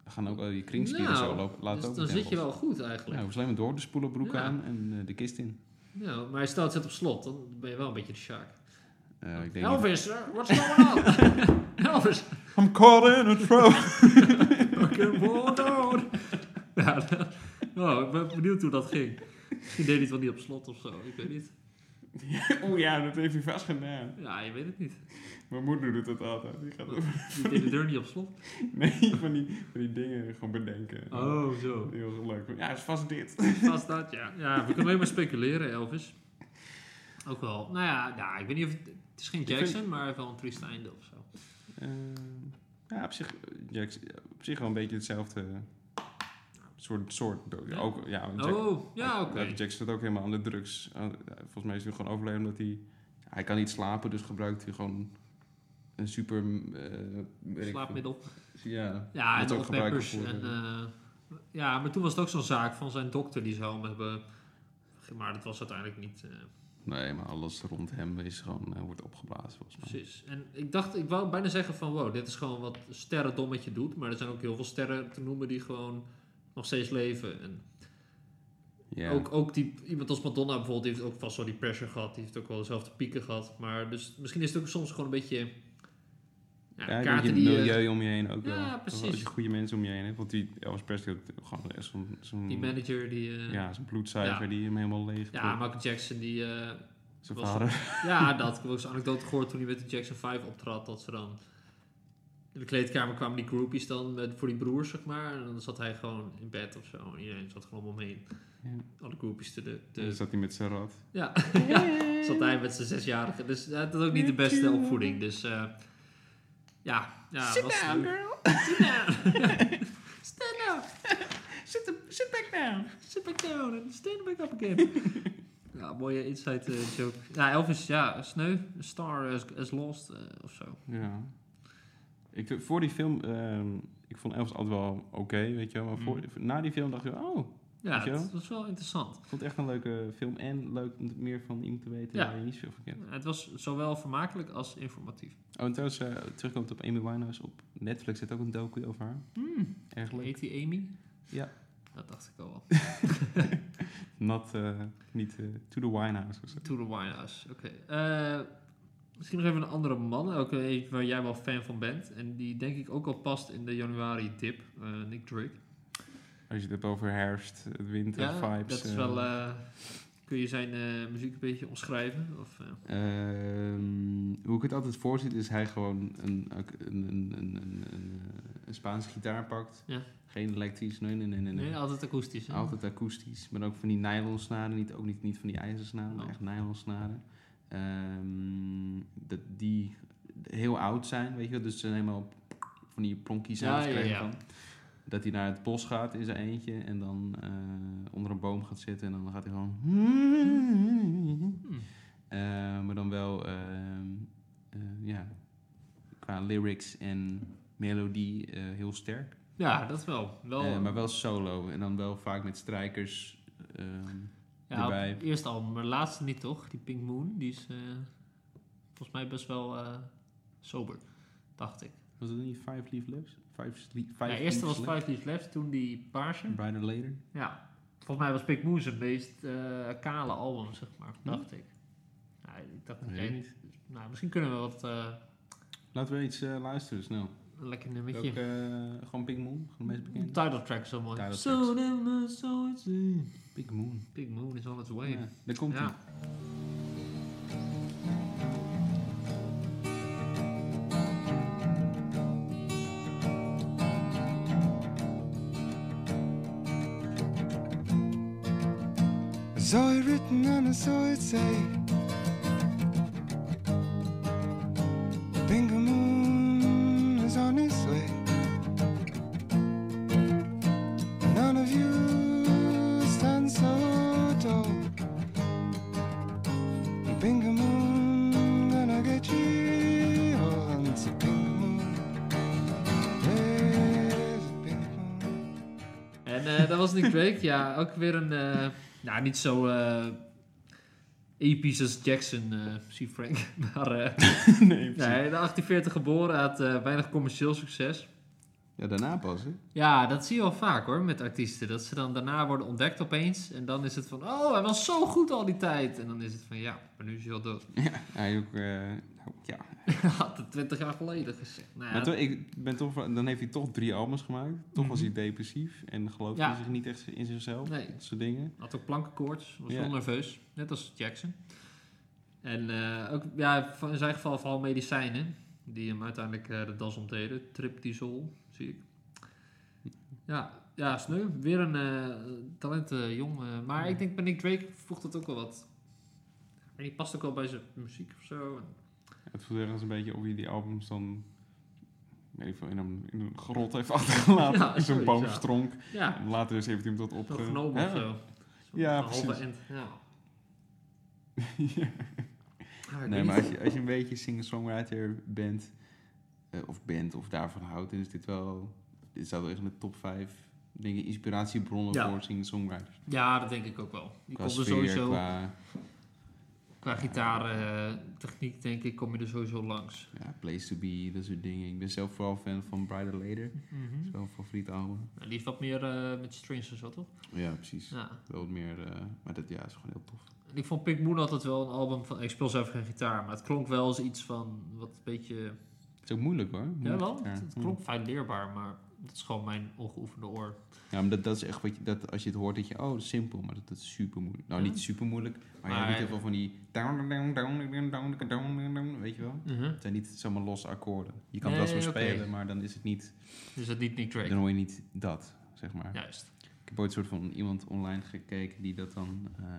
gaan ook al je kringspieren
Nou,
zo lopen. Laat
dus
ook
dan zit je wel goed
Ja,
eigenlijk.
hoef je alleen maar door de spoelenbroek
Ja.
aan en eh, de kist in.
Ja, maar stel, het zit op slot. Dan ben je wel een beetje de shark.
Eh, ik denk niet-
Elvis, eh, what's going on? Elvis,
I'm caught in a trap.
fucking wall down. Ja, dat- oh, ik ben benieuwd hoe dat ging. Misschien deed hij het wel niet op slot of zo. Ik weet niet.
Oeh ja, dat heeft hij vast gedaan.
Ja, je weet het niet.
Mijn moeder doet dat altijd. Die gaat over-
Die deed de deur niet op slot.
nee, van die, van die dingen gewoon bedenken.
Oh, zo.
Heel leuk. Ja, is vast dit.
Vast dat, ja. Ja, we kunnen alleen maar speculeren, Elvis. Ook wel. Nou ja, ja ik weet niet of... Het het is geen
vind-
Jackson, maar wel een triest einde of zo.
Eh, ja, op zich, ja, ik- op zich wel een beetje hetzelfde soort, soort dood.
Ja.
Ook, ja, want Jack,
Oh, ja, oké.
ja, Jack zit ook helemaal aan de drugs. Eh, volgens mij is hij gewoon overleden omdat hij... Hij kan niet slapen, dus gebruikt hij gewoon een super... eh, weet ik
Slaapmiddel.
veel. Ja,
Ja,
Wordt
en
ook
ook
gebruikt
peppers.
voor,
En, eh, ja, maar toen was het ook zo'n zaak van zijn dokter die zou hem hebben... Maar dat was uiteindelijk niet eh,
Nee, maar alles rond hem is gewoon, eh, wordt opgeblazen volgens mij.
precies. En ik dacht, ik wou bijna zeggen van... Wow, dit is gewoon wat sterrendommetje doet. Maar er zijn ook heel veel sterren te noemen die gewoon nog steeds leven. En
Ja,
Ook, ook die, iemand als Madonna bijvoorbeeld, die heeft ook vast wel die pressure gehad. Die heeft ook wel dezelfde pieken gehad. Maar dus misschien is het ook soms gewoon een beetje... Ja,
ja, ik denk
kaarten
je
die... eh,
milieu om je heen ook
Ja,
wel. Of
precies.
Als je goede mensen om je heen hebt. Want die Elvis Presley had gewoon echt zo'n... zo'n-
die manager, die... eh, ja,
Ja, zo'n bloedcijfer
Ja.
die hem helemaal leeg
Michael Jackson, die... eh,
Zijn
was-
vader.
ja, dat. Ik heb ook zo'n anekdote gehoord toen hij met de Jackson 5 optrad. Dat ze dan... In de kleedkamer kwamen die groupies dan met, voor die broers, zeg maar. En dan zat hij gewoon in bed of zo. En iedereen zat gewoon om hem heen.
Ja.
Alle groupies te... de- te-
Dan zat hij met zijn rat.
Ja, ja. zat hij met zijn zesjarige. Dus eh, dat is ook niet de beste opvoeding. Dus eh, Ja, ja
Sit
was
down,
leuk.
girl.
Sit down. stand up.
Sit, the- sit back down.
Sit back down and stand back up again. ja, mooie inside eh, joke. Ja, Elvis, ja, sneu. A star is, is lost eh, of zo.
Ja. Ik, eh, voor die film, ehm, ik vond Elvis altijd wel oké, weet je wel. Maar
Mhm.
voor, na die film dacht ik, oh,
Ja,
Weet je wel?
het was wel interessant.
ik vond het echt een leuke film. En leuk om meer van iemand te weten
Ja.
waar je niet zoveel van kent.
Het was zowel vermakelijk als informatief.
Oh, en trouwens, eh, terugkomt op Amy Winehouse. Op Netflix zit ook een docu over haar.
Mm.
Erg leuk.
Heet die Amy?
Ja.
Dat dacht ik al wel.
Not, eh, niet eh, To The Winehouse of zo.
To the Winehouse, oké. Eh, misschien nog even een andere man, ook een waar jij wel fan van bent. En die denk ik ook al past in de januari-tip, eh, Nick Drake.
Als je het hebt over herfst, het winter,
Ja,
vibes.
dat is
eh,
wel... eh, kun je zijn eh, muziek een beetje omschrijven? Of, eh,
Ehm, hoe ik het altijd voorzit is hij gewoon een, een, een, een, een, een, een Spaanse gitaar pakt.
Ja.
Geen elektrisch, nee, nee, nee, nee. nee.
nee, altijd akoestisch. hè?
Altijd akoestisch, maar ook van die nylonsnaren, niet, ook niet, niet van die ijzersnaren, maar
Oh.
echt nylonsnaren. Ehm, dat die heel oud zijn, weet je wel, dus ze zijn helemaal van die plonkies
Ja,
aan
ja,
krijgen
ja.
van. Dat hij naar het bos gaat in zijn eentje en dan eh, onder een boom gaat zitten en dan gaat hij gewoon...
Hmm.
Eh, maar dan wel, ehm, eh, ja, qua lyrics en melodie eh, heel sterk.
Ja, dat wel. wel
Eh, maar wel solo en dan wel vaak met strijkers. ehm,
ja, op
erbij.
het Eerst al, maar laatste niet toch? Die Pink Moon, die is eh, volgens mij best wel eh, sober, dacht ik.
was dat niet Five Leaf Lips? Five, sli-
Ja,
five
eerst was
Leaves Left?
Five Leaves Left, toen die paarse.
Brighter Later.
Ja, volgens mij was Pink Moon zijn meest eh, kale album, zeg maar,
Hm?
dacht ik. Nou, ik dacht, dat
Weet
jij-
ik niet.
nou, misschien kunnen we wat eh,
Laten we iets eh, luisteren, snel.
een lekker
Ook,
nummertje.
eh, gewoon Pink Moon, gewoon de meest
De
bekende.
title track is zo mooi.
Title
So never so it's in.
Pink Moon.
Pink Moon is on its way.
Ja, daar komt hij.
Ja.
I saw it written and I saw it say Pink moon is on its way None of you stand so tall Pink moon gonna get you all and it's a pink moon There's a pink moon
En eh, dat was Nick Drake. Ja, ook weer een... eh, nou, niet zo eh, episch als Jackson, eh zie Frank. Maar eh,
nee, precies.
nee, de 48 geboren had eh, weinig commercieel succes.
Ja, daarna pas, hè?
Ja, dat zie je wel vaak hoor, met artiesten. Dat ze dan daarna worden ontdekt opeens. En dan is het van, oh, hij was zo goed al die tijd. En dan is het van, ja, maar nu is hij al dood.
Ja, hij ook... eh, nou, ja,
had het 20 jaar geleden gezegd. Nou, ja,
Maar toch, ik ben toch, van- dan heeft hij toch drie albums gemaakt. Toch was hij depressief en geloofde
Mhm. Ja.
hij zich niet echt in zichzelf.
Nee.
Dat soort dingen.
Had ook plankenkoorts, was
Ja.
heel nerveus, net als Jackson. En eh, ook ja, van- in zijn geval vooral medicijnen, die hem uiteindelijk eh, de das omdeden. Triptisol, zie ik. Ja, ja sneu. Weer een eh, talent eh, jong. eh, maar ik denk bij Nick Drake voegt dat ook wel wat. En die past ook wel bij zijn muziek of zo.
Het voelt ergens een beetje of hij die albums dan weet ik veel, in, een, in een grot heeft achtergelaten.
Ja,
in zo'n
zoiets, ja.
boomstronk.
Ja,
Later is heeft hij hem dat
wel
opge...
genomen
eh, Ja.
of eh, zo. Zo'n
Ja,
halve
precies.
end, ja.
Ja.
Ah, ik
Nee,
weet
maar als
niet.
je, als je een beetje singer-songwriter bent, eh, of bent, of daarvan houdt, dan is dit wel... Dit zou wel echt in de top vijf, denk ik, inspiratiebronnen
Ja.
voor singer-songwriters.
Ja, dat denk ik ook wel. Die
Qua
komt er
sfeer,
sowieso...
qua
Qua gitaartechniek denk ik kom je er sowieso langs.
ja, Place to Be, dat soort dingen. Ik ben zelf vooral fan van Brighter Later.
Mhm.
Dat is wel een favoriet album.
Nou, die heeft wat meer eh, met strings en zo, toch?
Ja, precies.
Ja.
Wel wat meer, eh, maar dat ja, is gewoon heel tof.
En ik vond Pink Moon altijd wel een album van... Ik speel zelf geen gitaar, maar het klonk wel eens iets van wat een beetje...
Het is ook moeilijk hoor.
Ja,
Moeilijk
wel.
gitaar.
Het, het klonk fijn leerbaar, maar dat is gewoon mijn ongeoefende oor.
Ja, maar dat, dat is echt wat je, dat, als je het hoort, dat je, oh, dat is simpel, maar dat, dat is super moeilijk. Nou,
Ja.
niet super moeilijk, maar je
Maar-
hebt niet heel veel van die down, down, down, down, down, down, down, weet je wel.
Mhm.
Het zijn niet zomaar losse akkoorden. Je kan het wel
Nee,
zo
oké.
spelen, maar dan is het niet,
Dus dat niet Nick Drake.
dan hoor je niet dat, zeg maar.
Juist.
Ik heb ooit soort van iemand online gekeken die dat dan eh,
Mhm.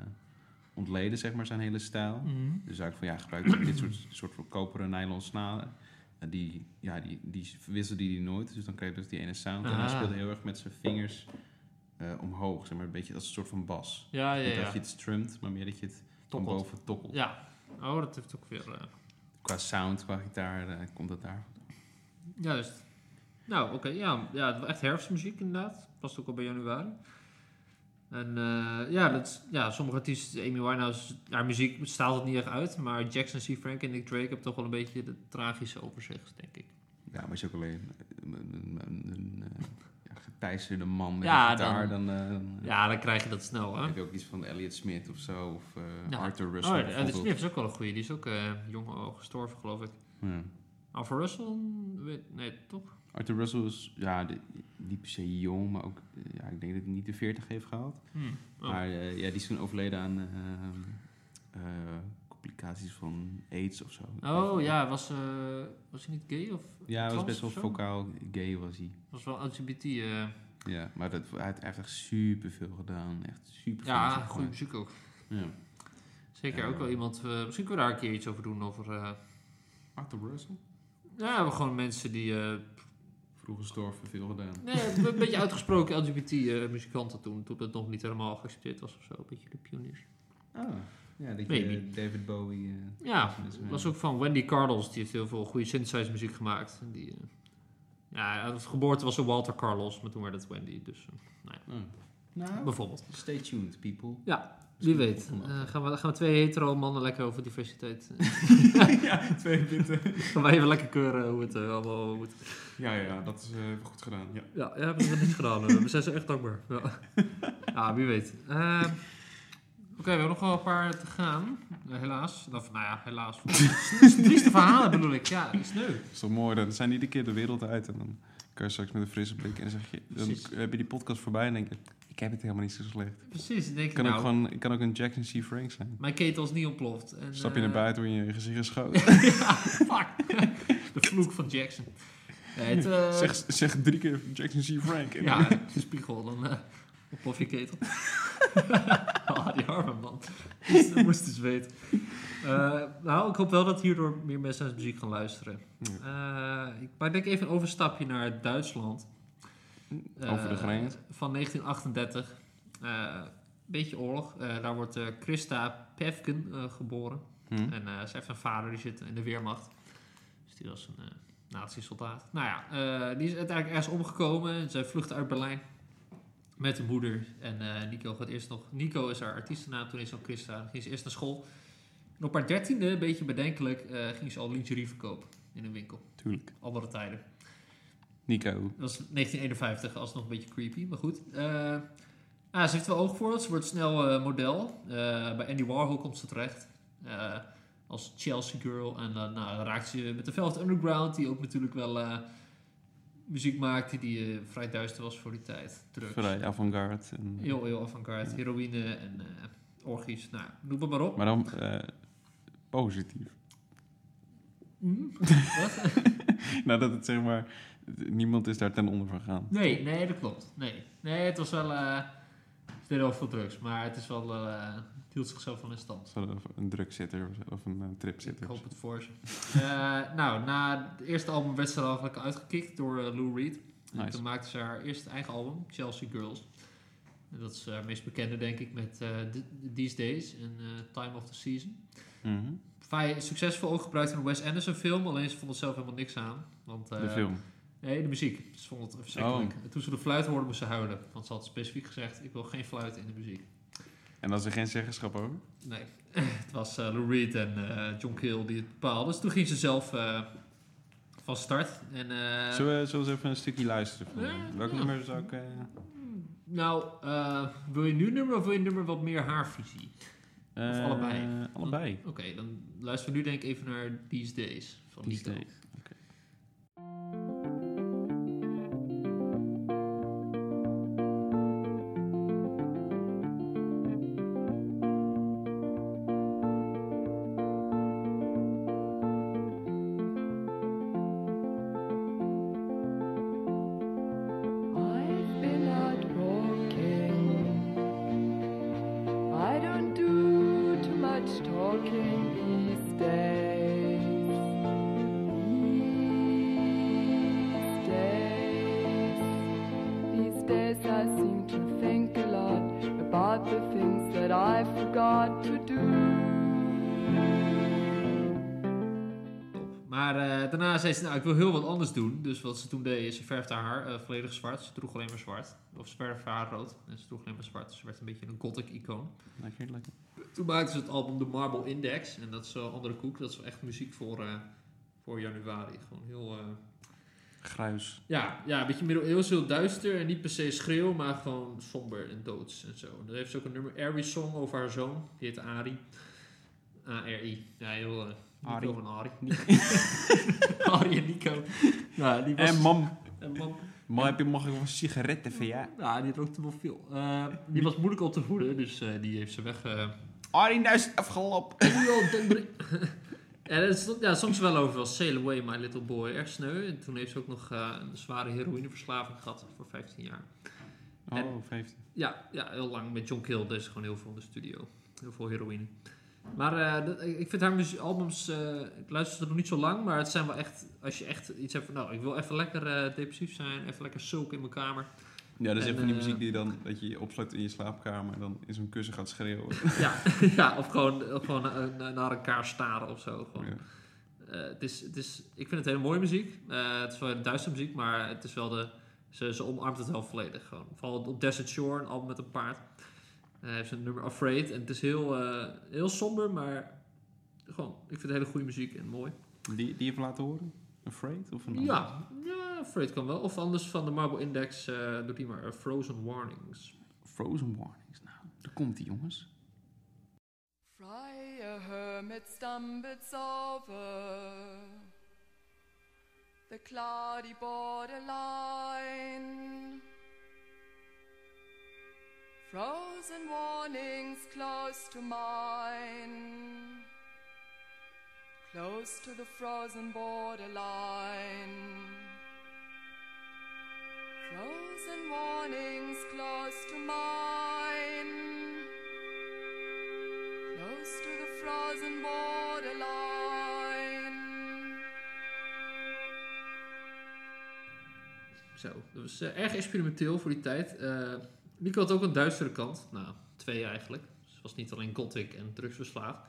ontleden, zeg maar, zijn hele stijl. Dus eigenlijk van ja, gebruik dit soort, soort van koperen nylon snaren. eh, die, ja, die, die wisselde die nooit. Dus dan kreeg je dus die ene sound. En hij
Ah.
speelde heel erg met zijn vingers eh, omhoog. Zeg maar een beetje als een soort van bas.
Ja,
Niet
ja, ja.
dat je het strumt, maar meer dat je het van
Tokkelt.
boven tokkelt.
Ja. Oh, dat heeft ook weer... eh,
Qua sound, qua gitaar, eh, komt dat daar.
Juist. Nou, oké. ja, ja, het was echt herfstmuziek inderdaad. Past ook al bij januari. En eh, ja, dat, is- ja, sommige artiesten, Amy Winehouse, haar muziek staat het niet echt uit. Maar Jackson C. Frank en Nick Drake hebben toch wel een beetje de tragische overzicht, denk ik.
Ja, maar als je ook alleen eh, een, een, een, een, eh, ja, getijzerde man met
Ja,
een gitaar,
dan-
dan, eh, dan,
Ja, dan krijg je dat snel, hè? Oh,
heb je ook iets van Elliot Smith of zo. Of eh,
Ja.
Arthur Russell.
Oh, en de
bijvoorbeeld.
Smith is ook wel een goeie. Die is ook eh, jong al gestorven, geloof ik.
Ja.
Arthur Russell? Weet- Nee, toch?
Arthur Russell is ja, de- niet per se jong, maar ook, eh, ja, ik denk dat hij niet de 40 heeft gehaald.
Hm. Oh.
Maar eh, ja, die is toen overleden aan eh, eh, complicaties van AIDS of zo.
Oh ja, was, eh, was hij niet gay? Of
Ja, hij was
trans
best wel
of zo?
vocaal gay was hij.
Was wel LGBT. eh.
Ja, maar dat, hij heeft echt super veel gedaan. Echt super
ja, goede muziek ook.
Ja.
Zeker
Ja.
ook wel iemand. eh, misschien kunnen we daar een keer iets over doen. Over, eh, nou
Arthur Russell?
ja, gewoon mensen die. eh,
Vroeg gestorven, veel gedaan.
nee, een beetje uitgesproken LGBT-muzikanten eh, toen. Toen het nog niet helemaal geaccepteerd was of zo. Een beetje de pioniers.
Oh, ja, dat je
Maybe.
eh, David Bowie... eh,
Ja,
dat is, eh,
was ook van Wendy Carlos. Die heeft heel veel goede synthesizer muziek gemaakt. En die, eh, ja, uit de geboorte was ze Walter Carlos, maar toen werd het Wendy. Dus eh,
oh. Nou,
bijvoorbeeld.
stay tuned, people.
Ja,
Misschien
Wie weet,
volgende
eh, gaan, we, gaan we twee hetero mannen lekker over diversiteit. eh,
ja, twee punten.
gaan wij even lekker keuren hoe het eh, allemaal moet.
Ja, ja, dat is eh, goed gedaan. Ja.
Ja, ja hebben we niet gedaan. eh, We zijn ze echt dankbaar. Ja, ja wie weet. Eh, Oké, we hebben nog wel een paar te gaan. Eh, helaas. Of, nou ja, helaas. Trieste verhalen bedoel ik. Ja, dat is leuk.
is toch mooi, dan zijn iedere keer de wereld uit. En dan kan je straks met een frisse blik en zeg je, dan
Precies.
k- heb je die podcast voorbij en denk je, ik heb het helemaal niet zo slecht.
Precies, dan denk
Ik
ik
kan,
nou.
ook, gewoon, ik kan ook een Jackson C. Frank zijn.
Mijn ketel is niet ontploft. En,
Stap je
eh,
naar buiten, word je in je gezicht geschoten.
ja, fuck. De vloek van Jackson. Nee, het, eh,
zeg, zeg drie keer Jackson C. Frank. En
Ja, de spiegel, dan eh ontplof je ketel. ah, die arme man. Moest- Moest dus weten. Eh, nou, ik hoop wel dat hierdoor meer mensen naar zijn muziek gaan luisteren. Eh, ik, maar ik denk even een overstapje naar Duitsland. Eh,
Over de grens.
Van 1938. Eh beetje oorlog. Eh, daar wordt eh, Christa Pevken eh, geboren.
Hm?
En eh, ze heeft een vader die zit in de Weermacht. Dus die was een eh nazi-soldaat. Nou ja, eh, die is uiteindelijk ergens omgekomen. Zij vluchtte uit Berlijn met haar moeder. En eh, Nico gaat eerst nog... Nico is haar artiestennaam, toen is ze al Christa. Dan ging ze eerst naar school. En op haar dertiende, een beetje bedenkelijk, eh, ging ze al lingerie verkopen in een winkel.
Tuurlijk.
Andere tijden.
Nico.
Dat was 1951, alsnog een beetje creepy, maar goed. Eh, ah, ze heeft wel oog voor het. Ze wordt snel eh, model. Eh, bij Andy Warhol komt ze terecht. eh, als Chelsea Girl. En dan nou, dan raakt ze met de Velvet Underground, die ook natuurlijk wel eh, muziek maakte die eh, vrij duister was voor die tijd. Drugs.
Vrij avant-garde. en-
Heel, heel avant-garde. Heroïne en eh orgies. Nou, noem het maar op.
Maar dan eh, positief.
Hm? Wat?
Nadat Nou, het zeg maar, niemand is daar ten onder van gegaan.
Nee, nee, dat klopt. Nee, nee het was wel... eh ze deden wel veel drugs, maar het is wel... eh, het hield zichzelf wel in stand.
Zo, Of een drukzitter of zo, of een eh, tripzitter.
Ik hoop het voor ze. Eh, nou, na het eerste album werd ze er eigenlijk uitgekikt door eh, Lou Reed. En
Nice.
Toen maakte ze haar eerste eigen album, Chelsea Girls. En dat is haar meest bekende, denk ik, met eh, Th- These Days en eh, Time of the Season.
Mhm.
Vrij succesvol ook gebruikt in een Wes Anderson film, alleen ze vond er zelf helemaal niks aan. Want, eh,
De film. Oh.
Nee, de muziek. Ze vond het verschrikkelijk. En Toen ze de fluit hoorde, moest ze huilen. Want ze had specifiek gezegd, ik wil geen fluit in de muziek.
En dan is er geen zeggenschap over?
Nee, het was eh, Lou Reed en eh, John Cale die het bepaalden. Dus toen ging ze zelf eh, van start. En, eh,
Zullen we, zullen we eens even een stukje luisteren? Van,
Ja,
welk
ja.
nummer zou ik... eh,
Nou, eh, wil je nu een nummer of wil je een nummer wat meer haar visie?
eh,
allebei?
Allebei.
Oké, dan luisteren we nu denk ik even naar These Days van
These
Nico.
Days, oké.
I've been out walking. I don't do too much talking these days. These I've got to do.
Maar eh, daarna zei ze, nou, ik wil heel wat anders doen. Dus wat ze toen deed, is ze verfde haar haar eh, volledig zwart. Ze droeg alleen maar zwart. Of ze verfde haar rood en ze droeg alleen maar zwart. Dus Ze werd een beetje een gothic icoon.
Lekker, lekker.
Toen maakten ze het album The Marble Index. En dat is wel een andere koek. Dat is wel echt muziek voor, eh, voor januari. Gewoon heel... eh,
Gruis.
ja, ja, een beetje middeleeuws, heel duister. En niet per se schreeuw, maar gewoon somber en doods en zo. En daar heeft ze ook een nummer, Airy Song, over haar zoon. Die heet Ari. A-R-I. Ja, heel... eh,
Ari.
Nico en Ari. Ari en Nico. Nou, die was...
En mam,
en mam.
maar heb je, mag ik wel sigaretten van ja?
Nou, die rookte wel veel. Eh, die was moeilijk op te voeden, dus eh, die heeft ze weg... eh,
Arie, nou is het afgelopen.
Heel donder- Ja, dat stond- ja, soms wel over als Sail Away My Little Boy. Erg sneu. En toen heeft ze ook nog eh, een zware heroïneverslaving gehad voor 15 jaar.
Oh, 15.
Ja, ja heel lang met John Kill. Deze gewoon heel veel in de studio. Heel veel heroïne. Maar eh, dat- ik vind haar muzie- albums, eh, ik luister ze nog niet zo lang, maar het zijn wel echt, als je echt iets hebt van, nou, ik wil even lekker eh, depressief zijn, even lekker sulk in mijn kamer.
Ja, dat is
En,
even die
eh,
muziek die je dan, dat je je opsluit in je slaapkamer en dan in zo'n kussen gaat schreeuwen.
ja, ja, of gewoon, of gewoon na- na- naar elkaar staren of zo. Gewoon.
Ja.
Eh, het is, het is, ik vind het hele mooie muziek. Eh, het is wel duistere muziek, maar het is wel de, ze, ze omarmt het wel volledig. Gewoon. Vooral op Desert Shore, een album met een paard. Eh, heeft ze een nummer Afraid. En het is heel, eh, heel somber, maar gewoon, ik vind het hele goede muziek en mooi.
Die, die even laten horen? Afraid? Of een ander?
Ja, ja, Afraid kan wel. Of anders van de Marble Index, eh doe die maar eh, Frozen Warnings.
Frozen Warnings. Nou, daar komt die jongens.
Friar Hermit stumbles over the cloudy borderline. Frozen warnings close to mine, close to the frozen borderline. Frozen warnings close to mine close to the frozen borderline.
Zo, dat was eh, erg experimenteel voor die tijd. Eh Nico had ook een duistere kant. Nou, twee eigenlijk. Ze was niet alleen gothic en drugsverslaafd.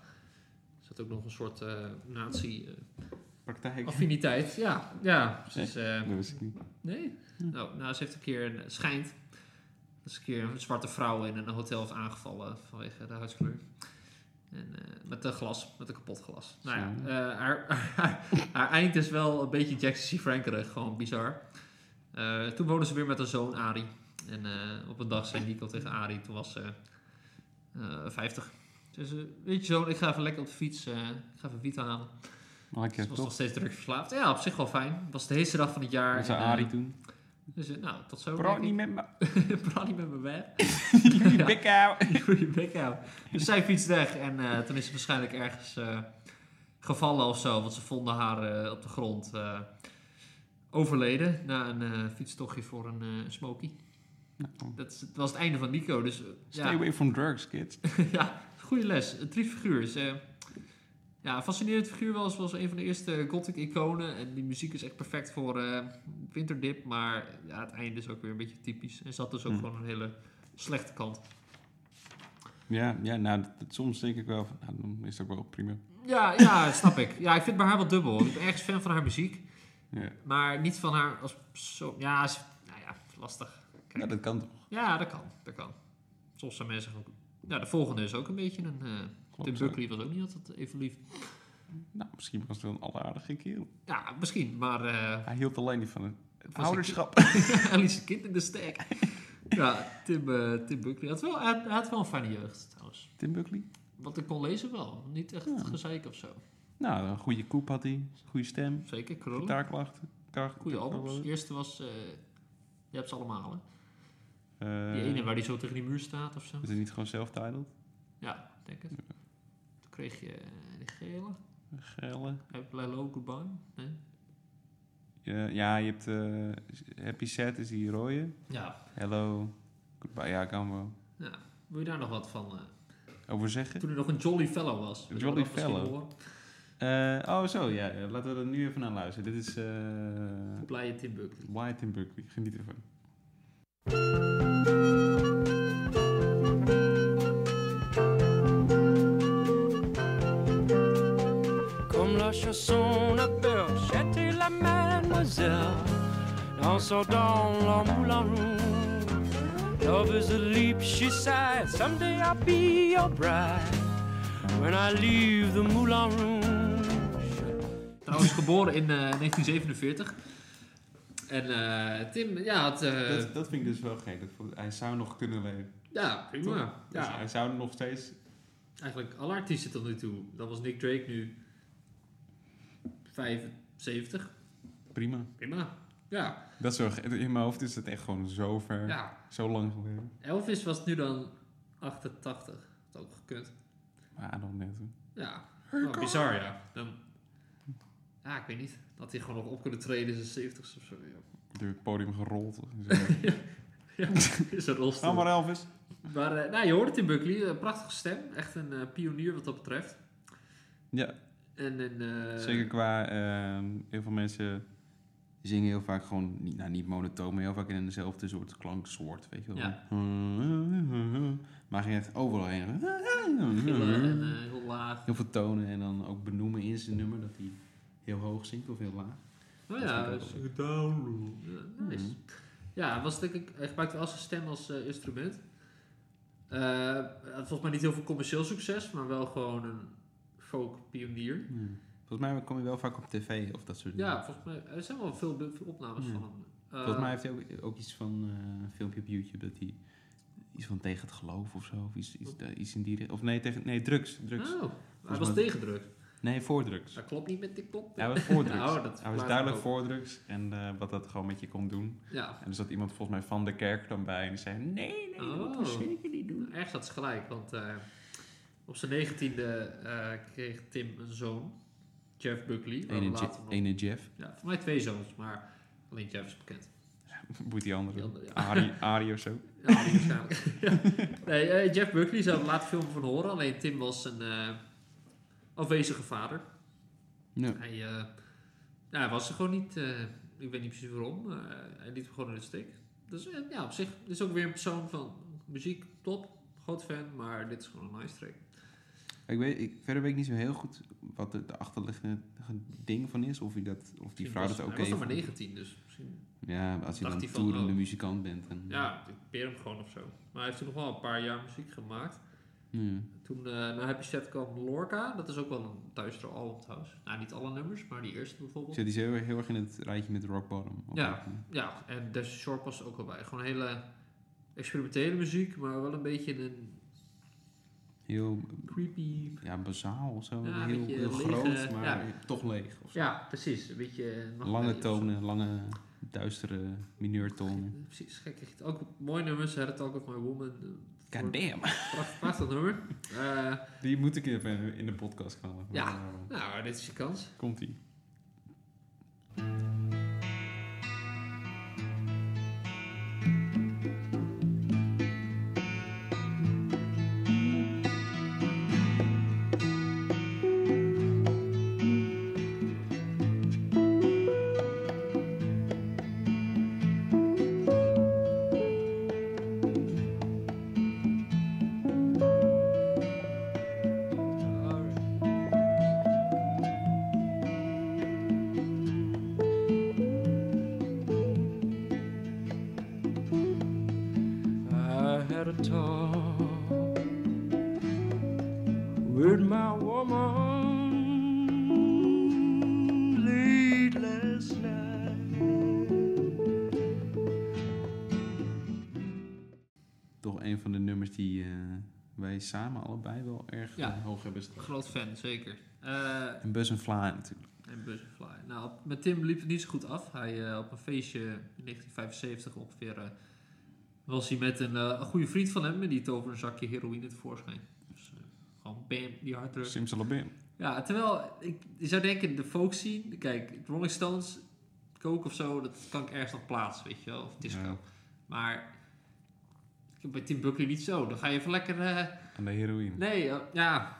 Er zat ook nog een soort eh
Praktijk.
nazi-affiniteit. ja, ja. Ze is, eh,
Dat wist ik niet.
nee? Nou, nou, ze heeft een keer, een, schijnt, dat ze een keer een zwarte vrouw in een hotel is aangevallen vanwege de huidskleur. En, eh, met een glas, met een kapot glas. Nou ja,
Zo.
eh, haar, haar, haar eind is wel een beetje Jackson C. Frankerig, gewoon bizar. Eh, toen woonde ze weer met haar zoon Ari. En eh, op een dag zei Nico tegen Ari, toen was ze eh, 50. Ze zei, weet je zoon, ik ga even lekker op de fiets, eh, ik ga even wiet halen.
Lekker,
Ze was nog
toch?
steeds druk verslaafd. Ja, op zich wel fijn. Het was de heetste dag van het jaar.
Dat zou
En, eh,
Arie doen.
dus, eh, nou, tot zo.
Praat
denk
niet
ik.
met me.
Praat niet met mijn werk.
Die
Ja. Eh,
bek houden.
Doe je bek houden. Dus zij fietst weg en eh, toen is ze waarschijnlijk ergens eh, gevallen of zo. Want ze vonden haar eh, op de grond eh, overleden na een eh, fietstochtje voor een eh smoky.
Nou,
Dat, is- dat was het einde van Nico. Dus eh,
Stay
ja,
away from drugs, kids.
ja, goede les. Een trief figuur. Ze, ja, een fascinerend figuur wel. Ze was een van de eerste gothic iconen. En die muziek is echt perfect voor eh, winterdip. Maar ja, het einde is ook weer een beetje typisch. En ze had dus ook
Hm.
gewoon een hele slechte kant.
Ja, ja nou, dat- dat- soms denk ik wel van, nou, dan is dat ook wel prima.
Ja, ja, snap ik. Ja, ik vind bij haar wel dubbel. Ik ben ergens fan van haar muziek,
Ja,
maar niet van haar als persoon. Ja, is, nou ja, lastig.
ja dat kan toch?
Ja, dat kan. Dat kan. Soms zijn mensen gewoon... Ja, de volgende is ook een beetje een... eh, Tim
Klopt.
Buckley was ook niet altijd even lief.
Nou, misschien was het wel een allaardige kerel.
Ja, misschien, maar... eh,
Hij hield alleen niet van het
een
ouderschap.
Hij liet zijn kind in de steek. ja, Tim, eh, Tim Buckley had wel, hij, hij had wel een fijne jeugd, trouwens.
Tim Buckley?
Wat ik kon lezen wel. Niet echt
Ja.
gezeik of zo.
Nou, een goede koep had hij. Goede stem.
Zeker, krullen.
Gitaarklachten. kracht-
Goede albums. De eerste was... eh, je hebt ze allemaal, hè?
Eh,
Die ene waar die zo tegen die muur staat of zo.
Is het niet gewoon self-titled?
Ja, ik denk het. Toen kreeg je eh, die gele.
Gelle.
Heb je Low Goodbye? Nee?
Ja, ja, je hebt eh, Happy Set is die rode.
Ja.
Hello. Goodbye. Ja, kan wel.
ja. Wil je daar nog wat van? eh?
Over zeggen?
toen hij nog een Jolly Fellow was. Weet je
Jolly
wat dat misschien
Fellow.
hoor?
Eh, oh, zo. Ja, ja, laten we er nu even naar luisteren. Dit is eh
Blije Tim Buckley.
White in Buckley. Geniet ervan.
Friar
leur chanson de peur. J'étais la mademoiselle, dansant dans leur moulin rouge. Love is a leap, she sighed. Someday I'll be your bride when I leave the moulin rouge.
Trouwens, geboren in eh, 1947. En eh, Tim, ja, had, eh,
dat, dat vind ik dus wel gek. Dat vond- hij zou nog kunnen leven.
ja prima.
Dus
Ja,
hij zou nog steeds...
eigenlijk alle artiesten tot nu toe. Dan was Nick Drake nu 75.
Prima.
Prima. Ja,
Dat is wel ge- In mijn hoofd is het echt gewoon zo ver.
ja.
Zo lang geleden.
Elvis was nu dan 88. Dat had ook gekund.
Maar nog net. hoor.
Ja, Nou, bizar ja. Dan, ja, ik weet niet. Dat hij gewoon nog op kunnen treden in zijn 70s of zo. Ja,
Door het podium gerold. Zo.
ja is dat rolstoel.
Ga maar Elvis.
Maar eh, nou, je hoort het in Buckley. Een prachtige stem. Echt een eh, pionier wat dat betreft.
Ja.
En, en, eh,
Zeker qua, ehm, heel veel mensen zingen heel vaak gewoon, niet, nou niet monotoon, maar heel vaak in dezelfde soort klanksoort, weet je wel.
Ja.
Maar ging echt overal heen.
Heel,
Mhm.
eh, en, eh, heel laag.
Heel veel tonen en dan ook benoemen in zijn nummer dat hij heel hoog zingt of heel laag.
Nou
Dat
ja,
vind ik
dus-
ook
Ja, nice. Ja, was denk ik, hij gebruikte wel zijn stem als eh, instrument. Eh, volgens mij niet heel veel commercieel succes, maar wel gewoon een folk-pionier.
Ja. Volgens mij kom je wel vaak op tv of dat soort dingen.
Ja, volgens mij er zijn wel veel, be- veel opnames
Ja.
van hem. Eh,
Mhm. Volgens mij heeft hij ook, ook iets van eh, een filmpje op YouTube dat hij iets van tegen het geloof of zo. Of iets, iets, iets in die richting. Of nee, tegen, nee, drugs. drugs.
Oh, hij
Volgens
was
mij-
tegen drugs.
Nee, voor drugs.
Dat klopt niet met die pop.
Hij was voor drugs.
Oh, dat
hij
verklaart
was
het
duidelijk
ook.
voor drugs en eh, wat dat gewoon met je kon doen.
Ja,
En er zat iemand volgens mij van de kerk dan bij en die zei: Nee, nee, dat moet je
Oh.
zeker niet doen.
ergens had ze gelijk, want eh, op zijn negentiende eh kreeg Tim een zoon, Jeff Buckley. waar we
Ene,
later nog-
Je- ene Jeff,
Ja, voor mij twee zoons, maar alleen Jeff is bekend.
moet die andere,
Die andere, ja.
Ari, Ari of zo.
Ja, die waarschijnlijk. Ja. nee, eh, Jeff Buckley zou er later veel van horen. Alleen Tim was een eh, afwezige vader.
Ja.
Hij, eh, ja, hij was er gewoon niet. eh, ik weet niet precies waarom. eh, hij liet hem gewoon in de steek. Dus eh, ja, op zich dit is ook weer een persoon van muziek, top. Groot fan, maar dit is gewoon een nice track.
Ik weet, ik, verder weet ik niet zo heel goed wat de, de achterliggende ding van is. Of, hij dat, of die
Misschien
vrouw
was-
dat ook
Hij was nog
heeft.
maar 19, dus misschien...
Ja, als je
Dacht
dan
hij
een
van,
toerende
oh.
muzikant bent. En,
Ja, ik peer hem gewoon of zo. Maar hij heeft toen nog wel een paar jaar muziek gemaakt.
Ja.
Toen eh naar Happy Set kwam Lorca. Dat is ook wel een duister album trouwens. Nou, niet alle nummers, maar die eerste bijvoorbeeld.
Zit die heel, erg- heel erg in het rijtje met Rock Bottom. Of
Ja.
ook,
Ja, en Desert Shore past er ook wel bij. Gewoon hele experimentele muziek, maar wel een beetje een
Heel
creepy...
ja, bazaal of zo.
Ja, een
heel
beetje
heel
lege-
groot, maar toch leeg. Of zo.
Ja, precies. Een beetje... eh,
Lange
toon
tonen, lange duistere mineurtonen.
Precies, gek. echt. Ook mooi nummers. Had Talk of My Woman. eh, voor-
Goddamn.
Pracht- Prachtig nummer. Eh,
Die moet ik even in de podcast knallen. eh,
Ja. nou, dit is je kans.
Komt ie.
I had a talk with my woman late last night.
Toch een van de nummers die eh, wij samen allebei wel erg
Ja.
eh, hoog hebben staan.
Groot fan, zeker. Eh,
En Bus en Vla natuurlijk.
En Butterfly. Nou, op- met Tim liep het niet zo goed af. Hij eh, op een feestje in 1975 ongeveer eh, was hij met een, eh, een goede vriend van hem en die toverde een zakje heroïne tevoorschijn. Dus eh, gewoon bam, die harddruk.
Simsalabim.
Ja, terwijl ik, je zou denken, de folk scene, kijk, Rolling Stones, Coke of zo, dat kan ik ergens nog plaatsen, weet je wel, of disco.
Ja.
Maar bij Tim Buckley niet zo. Dan ga je even lekker eh,
En de heroïne.
Nee, eh, ja.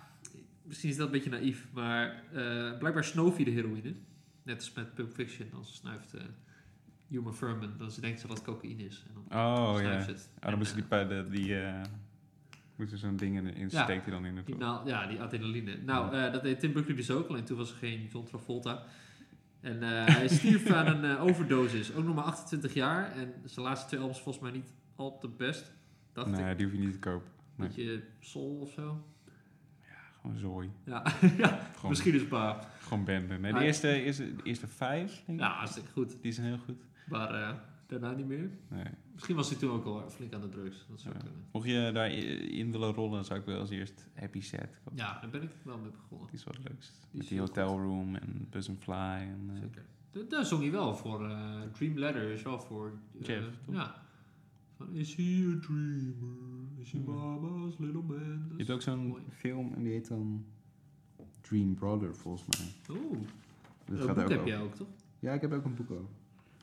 Misschien is dat een beetje naïef, maar eh, blijkbaar snoof je de heroïne. Net als met Pulp Fiction, dan snuift eh Uma Thurman, dan denkt ze dat het cocaïne is. En dan
Oh
snuift
ja.
ze het.
Ah, dan
En,
moesten
eh,
die, pa- de- die eh,
Moet je zo'n ding in, in
Ja.
steekt hij dan in het
Die naal- ja, die adrenaline. Nou, eh, dat deed Tim Buckley dus ook, alleen toen was er geen John Travolta. En eh, hij stierf aan een eh, overdosis. Ook nog maar 28 jaar. En zijn laatste twee albums volgens mij niet al te best. Dacht ik.
Nee, die hoef je niet te kopen. nee.
Beetje soul of zo.
Gewoon zooi.
Ja, ja
Gewoon,
misschien is het paar.
Gewoon bende. Nee, de
Ah.
eerste, eerste, de eerste vijf, denk ik.
Ja, hartstikke goed.
Die zijn heel goed.
Maar eh, daarna niet meer.
Nee.
Misschien was hij toen ook al flink aan de drugs. Dat zou
Ja.
kunnen.
Mocht je daarin willen rollen, zou ik wel als eerst Happy Set. kopen.
Ja, daar ben ik wel mee begonnen.
Die is wat leukst.
Die
Met
is
die
heel goed.
hotelroom en Buzz and Fly. En, eh,
Zeker. Da- Daar zong hij wel voor. eh, dream Letter is wel voor... eh,
Jeff, toch?
Ja. Van, is he a dreamer? Is he mama's little man?
Hmm. je hebt ook zo'n
mooi.
film en die heet dan...
Dream Brother, volgens mij.
Oeh,
Dat
Oh, dat
gaat
boek
ook
heb
over.
jij ook, toch?
Ja, ik heb ook een boek over.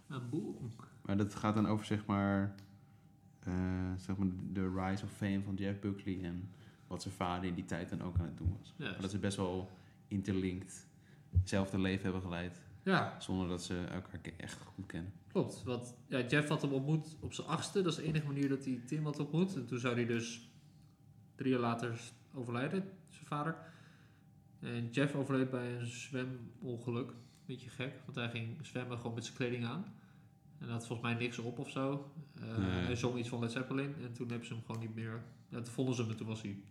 Een boek.
Maar dat gaat dan over zeg maar, eh, zeg maar de rise of fame van Jeff Buckley en wat zijn vader in die tijd dan ook aan het doen was.
Ja.
Maar dat ze best wel interlinked, hetzelfde leven hebben geleid,
ja,
zonder dat ze elkaar ke- echt goed kennen.
klopt. Want ja, Jeff had hem ontmoet op zijn achtste. Dat is de enige manier dat hij Tim had ontmoet. En toen zou hij dus drie jaar later overlijden, zijn vader. En Jeff overleed bij een zwemongeluk. Beetje gek, want hij ging zwemmen gewoon met zijn kleding aan. En had volgens mij niks op of zo. Eh,
Nee.
Hij zong iets van Led Zeppelin. En toen hebben ze hem gewoon niet meer... Ja, toen vonden ze hem en toen was hij...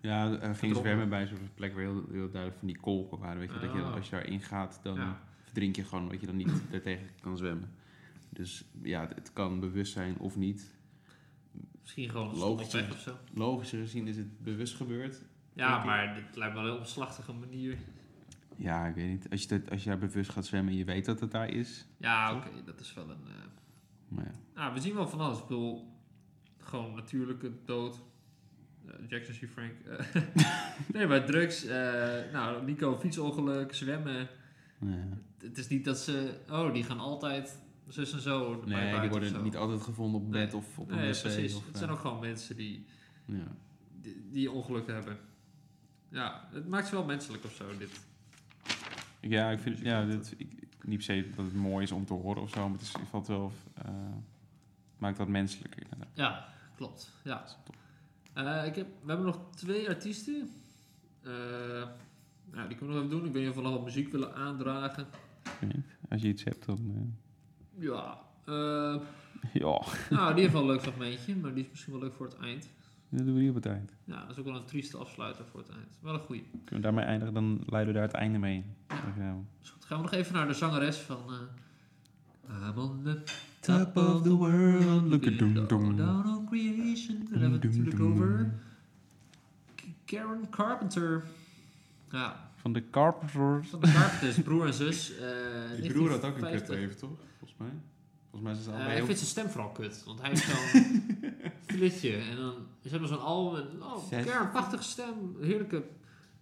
Ja, eh, er ging
Verdronken.
zwemmen bij zo'n plek waar heel, heel duidelijk van die kolken waren. Weet je, dat je
Ah.
als je daarin gaat, dan
Ja.
verdrink je gewoon, dat je dan niet daartegen kan zwemmen. Dus ja, het, het kan bewust zijn of niet.
Misschien gewoon een stomme
Logisch,
pech of zo.
Logischer gezien is het bewust gebeurd.
Ja,
Denk ik.
maar het lijkt me wel een omslachtige manier.
Ja, ik weet niet. Als je, dat, als je daar bewust gaat zwemmen en je weet dat het daar is.
Ja, oké, dat is wel een... eh,
Maar ja.
Nou, we zien wel van alles. Ik bedoel, gewoon natuurlijke dood. Eh, Jackson C. Frank. eh, nee, maar drugs. eh, nou, Nico, fietsongeluk, zwemmen.
ja.
Het is niet dat ze... Oh, die gaan altijd zus en zo. erbij
Nee, die
buiten of
worden
zo.
niet altijd gevonden op
Nee.
bed of op een
Nee,
wc.
precies.
Of,
het zijn
eh,
ook gewoon mensen die,
ja.
die, die ongeluk hebben. Ja, het maakt ze wel menselijk of zo, dit.
Ja, ik vind ja, dit, ik, niet per se dat het mooi is om te horen of zo, maar het is, het valt wel... eh, maakt dat menselijker. inderdaad.
Ja, klopt. Ja.
Dat is top.
Eh, ik heb, we hebben nog twee artiesten. Eh, nou, die kunnen we nog even doen. Ik weet niet of we nog wat muziek willen aandragen.
Ik weet niet. Als je iets hebt, dan... eh,
Ja. eh,
ja,
nou, die heeft wel een leuk fragmentje, maar die is misschien wel leuk voor het eind.
dat doen we hier op het eind.
Ja, dat is ook wel een trieste afsluiter voor het eind. Wel een goeie.
Kunnen we daarmee eindigen, dan leiden we daar het einde mee in.
Ja.
Dank je wel.
Dus goed, gaan we nog even naar de zangeres van... eh I'm on the
Top of the world, look at dum dum.
Down on creation. Daar hebben we het
Dum
natuurlijk
dum.
over. K- Karen Carpenter. Ja,
Van de Carpenters.
van de Carpenters, broer en zus. eh,
Die broer had ook een
1950.
kut even, toch? Volgens mij. Volgens mij zijn ze
Eh,
allebei
ik
heel...
vind zijn stem vooral kut, want hij heeft zo'n flitje. En dan ze hebben zo'n album, en, oh,
Zes.
Kern, prachtige stem, heerlijke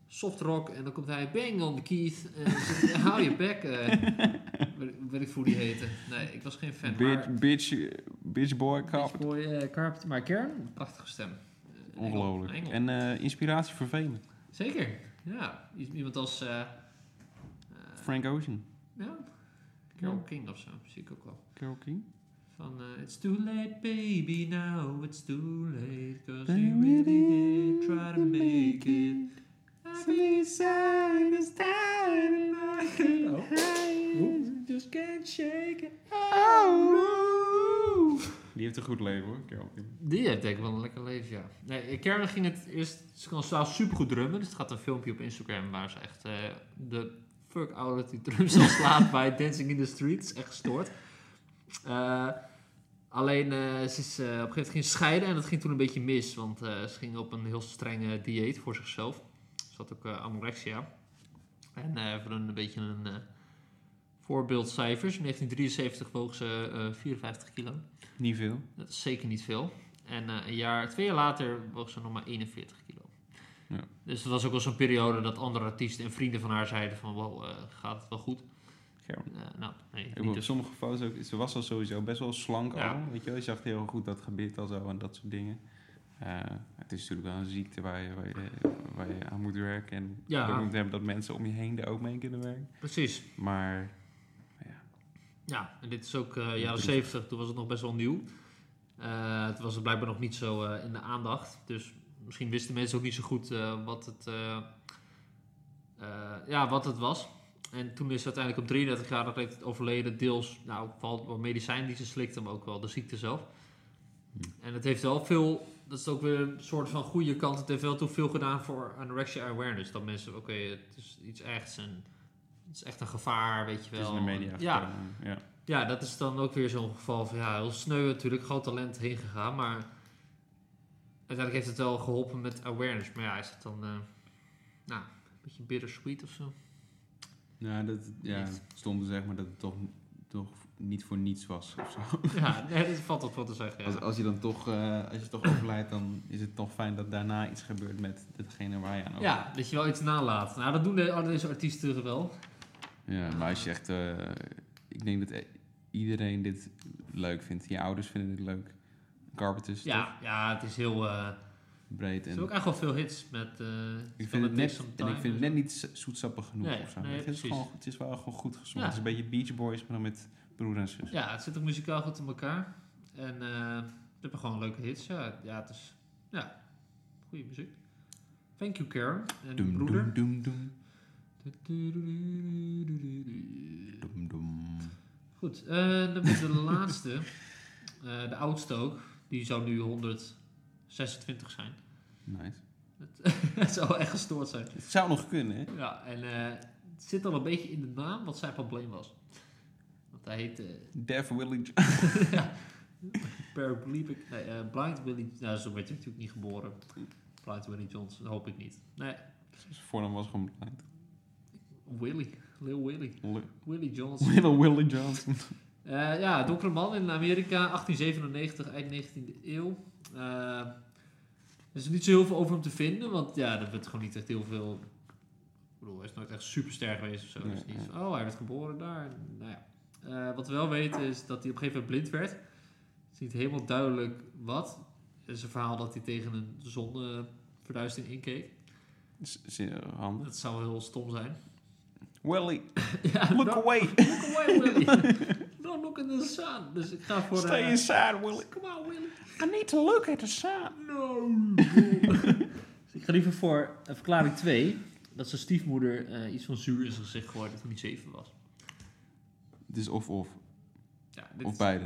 soft rock. En dan komt hij bang on the Keith. En dan zit hij, hou je bek. eh weet, weet ik hoe die heette. Nee, ik was geen fan.
Bitch,
maar,
bitch, bitch boy
Bitch
Carpenter.
boy, eh, Carpenter. Maar Kern, prachtige stem. Eh, Engel,
Ongelooflijk.
Engel.
En eh, inspiratie voor velen.
Zeker, ja. I- Iemand als... eh, eh,
Frank Ocean.
Ja, Carol King of zo, zie ik ook wel.
Carol King.
Van eh, It's too late baby now, it's too late Cause
They
you really did try to make it Just can't shake it
Die heeft een goed leven hoor, Carol King.
Die heeft denk ik wel een lekker leven, ja. Nee, eh, Karen ging het eerst... Ze kan zelf supergoed drummen. Dus het gaat een filmpje op Instagram waar ze echt eh, de fuck out uit die drums al slaat bij Dancing in the Street. Het is echt gestoord. Eh, alleen, eh, ze is eh, op een gegeven moment ging ze scheiden en dat ging toen een beetje mis. Want eh, ze ging op een heel strenge dieet voor zichzelf. Ze had ook eh, anorexia. En eh, voor een, een beetje een eh, voorbeeldcijfers. In 1973 woog ze eh, 54 kilo.
Niet veel.
Dat is zeker niet veel. En eh, een jaar, twee jaar later woog ze nog maar 41 kilo.
Ja.
Dus het was ook wel zo'n periode dat andere artiesten en vrienden van haar zeiden van... Wow, eh, gaat het wel goed?
Carol.
Eh, nou, nee,
Ik
niet
bedoel,
dus.
sommige foto's ook. Ze was al sowieso best wel slank
Ja.
al. Weet je wel, je zag heel goed dat gebit al zo en dat soort dingen. Eh, het is natuurlijk wel een ziekte waar je, waar je, waar je aan moet werken. En
Ja.
je moet hebben dat mensen om je heen er ook mee kunnen werken.
Precies.
Maar
Ja, en dit is ook eh jaren
Natuurlijk.
70, toen was het nog best wel nieuw. Eh, het was het blijkbaar nog niet zo eh, in de aandacht. Dus misschien wisten mensen ook niet zo goed eh, wat, het, eh, eh, ja, wat het was. En toen is ze uiteindelijk op 33 jaar dat het overleden, deels nou, vooral door medicijn die ze slikte, maar ook wel de ziekte zelf.
Hm.
En het heeft wel veel, dat is ook weer een soort van goede kant, het heeft wel toe veel gedaan voor anorexia awareness. Dat mensen, oké, het is iets echt, en het is echt een gevaar, weet je
Het
wel.
is in de media.
Ja,
gekomen. ja.
ja, dat is dan ook weer zo'n geval van ja, heel sneu natuurlijk, groot talent heen gegaan, maar uiteindelijk heeft het wel geholpen met awareness. Maar ja, is het dan eh, nou, een beetje bittersweet of zo?
Nou, dat, ja,
Niet.
stond er zeg maar dat het toch, toch niet voor niets was of zo.
Ja, nee, dat valt wat voor te zeggen.
Als,
Ja.
als je dan toch, eh, als je toch overlijdt, dan is het toch fijn dat daarna iets gebeurt met degene waar je aan overlijdt.
ja, dat je wel iets nalaat. Nou, dat doen de- al deze artiesten wel.
Ja,
Ja, maar als je echt, eh, ik denk dat eh, iedereen dit leuk vindt. Je ouders vinden dit leuk. Carpenters, toch?
Ja, ja, het is heel. eh
breed
er zijn
en.
ook echt wel veel hits met. eh
Ik vind het net, en ik vind het net
niet.
niet zo- zoetsappig genoeg
Nee,
of zo.
nee,
het, is
precies.
gewoon, het is wel gewoon goed gezongen.
Ja.
Het is een beetje Beach Boys, maar dan met broer en zus.
Ja, het zit ook muzikaal goed in elkaar. En eh we hebben gewoon leuke hits. Ja, ja het is... Ja, goede muziek. Thank you, Karen. En
Dum,
broeder.
dum, dum, dum, dum.
Goed, eh, dan is de laatste. Eh, de oudste ook. Die zou nu 126 zijn.
Nice.
Het zou echt gestoord zijn.
Het zou nog kunnen, hè?
Ja, en eh, het zit al een beetje in de naam wat zijn probleem was. Want hij heet... eh,
Dev Willie Jo-
Paraplegic. Nee, eh, Blind Willie. Nou, zo werd hij natuurlijk niet geboren. Blind Willie Johnson, hoop ik niet. Nee,
Zijn voornaam was gewoon blind.
Willie. Lil Willie.
Li-
Willie Johnson.
Little Willie Johnson.
Eh, ja, donkere man in Amerika, 1897, eind 19e eeuw. Eh, er is niet zo heel veel over hem te vinden, want ja, er werd gewoon niet echt heel veel. Ik bedoel, hij is nooit echt superster geweest of zo.
Nee,
dus niet van, oh, hij werd geboren daar. Nou ja. Eh, wat we wel weten is dat hij op een gegeven moment blind werd. Het is niet helemaal duidelijk wat. Er is een verhaal dat hij tegen een zonneverduistering inkeek.
Z- zeer
eh,
handig.
Dat zou heel stom zijn.
Willie,
ja,
look
don't
away.
look away, Willy. Don't look in the sun. Dus ik ga voor...
Stay
eh,
inside, Willie.
Come on, Willy.
I need to look at the sun.
No. ik ga liever voor eh, verklaring 2. Dat zijn stiefmoeder eh, iets van zuur in zijn gezicht gooide toen hij 7 was.
Het is of-of.
Ja, dit
Of
is,
beide.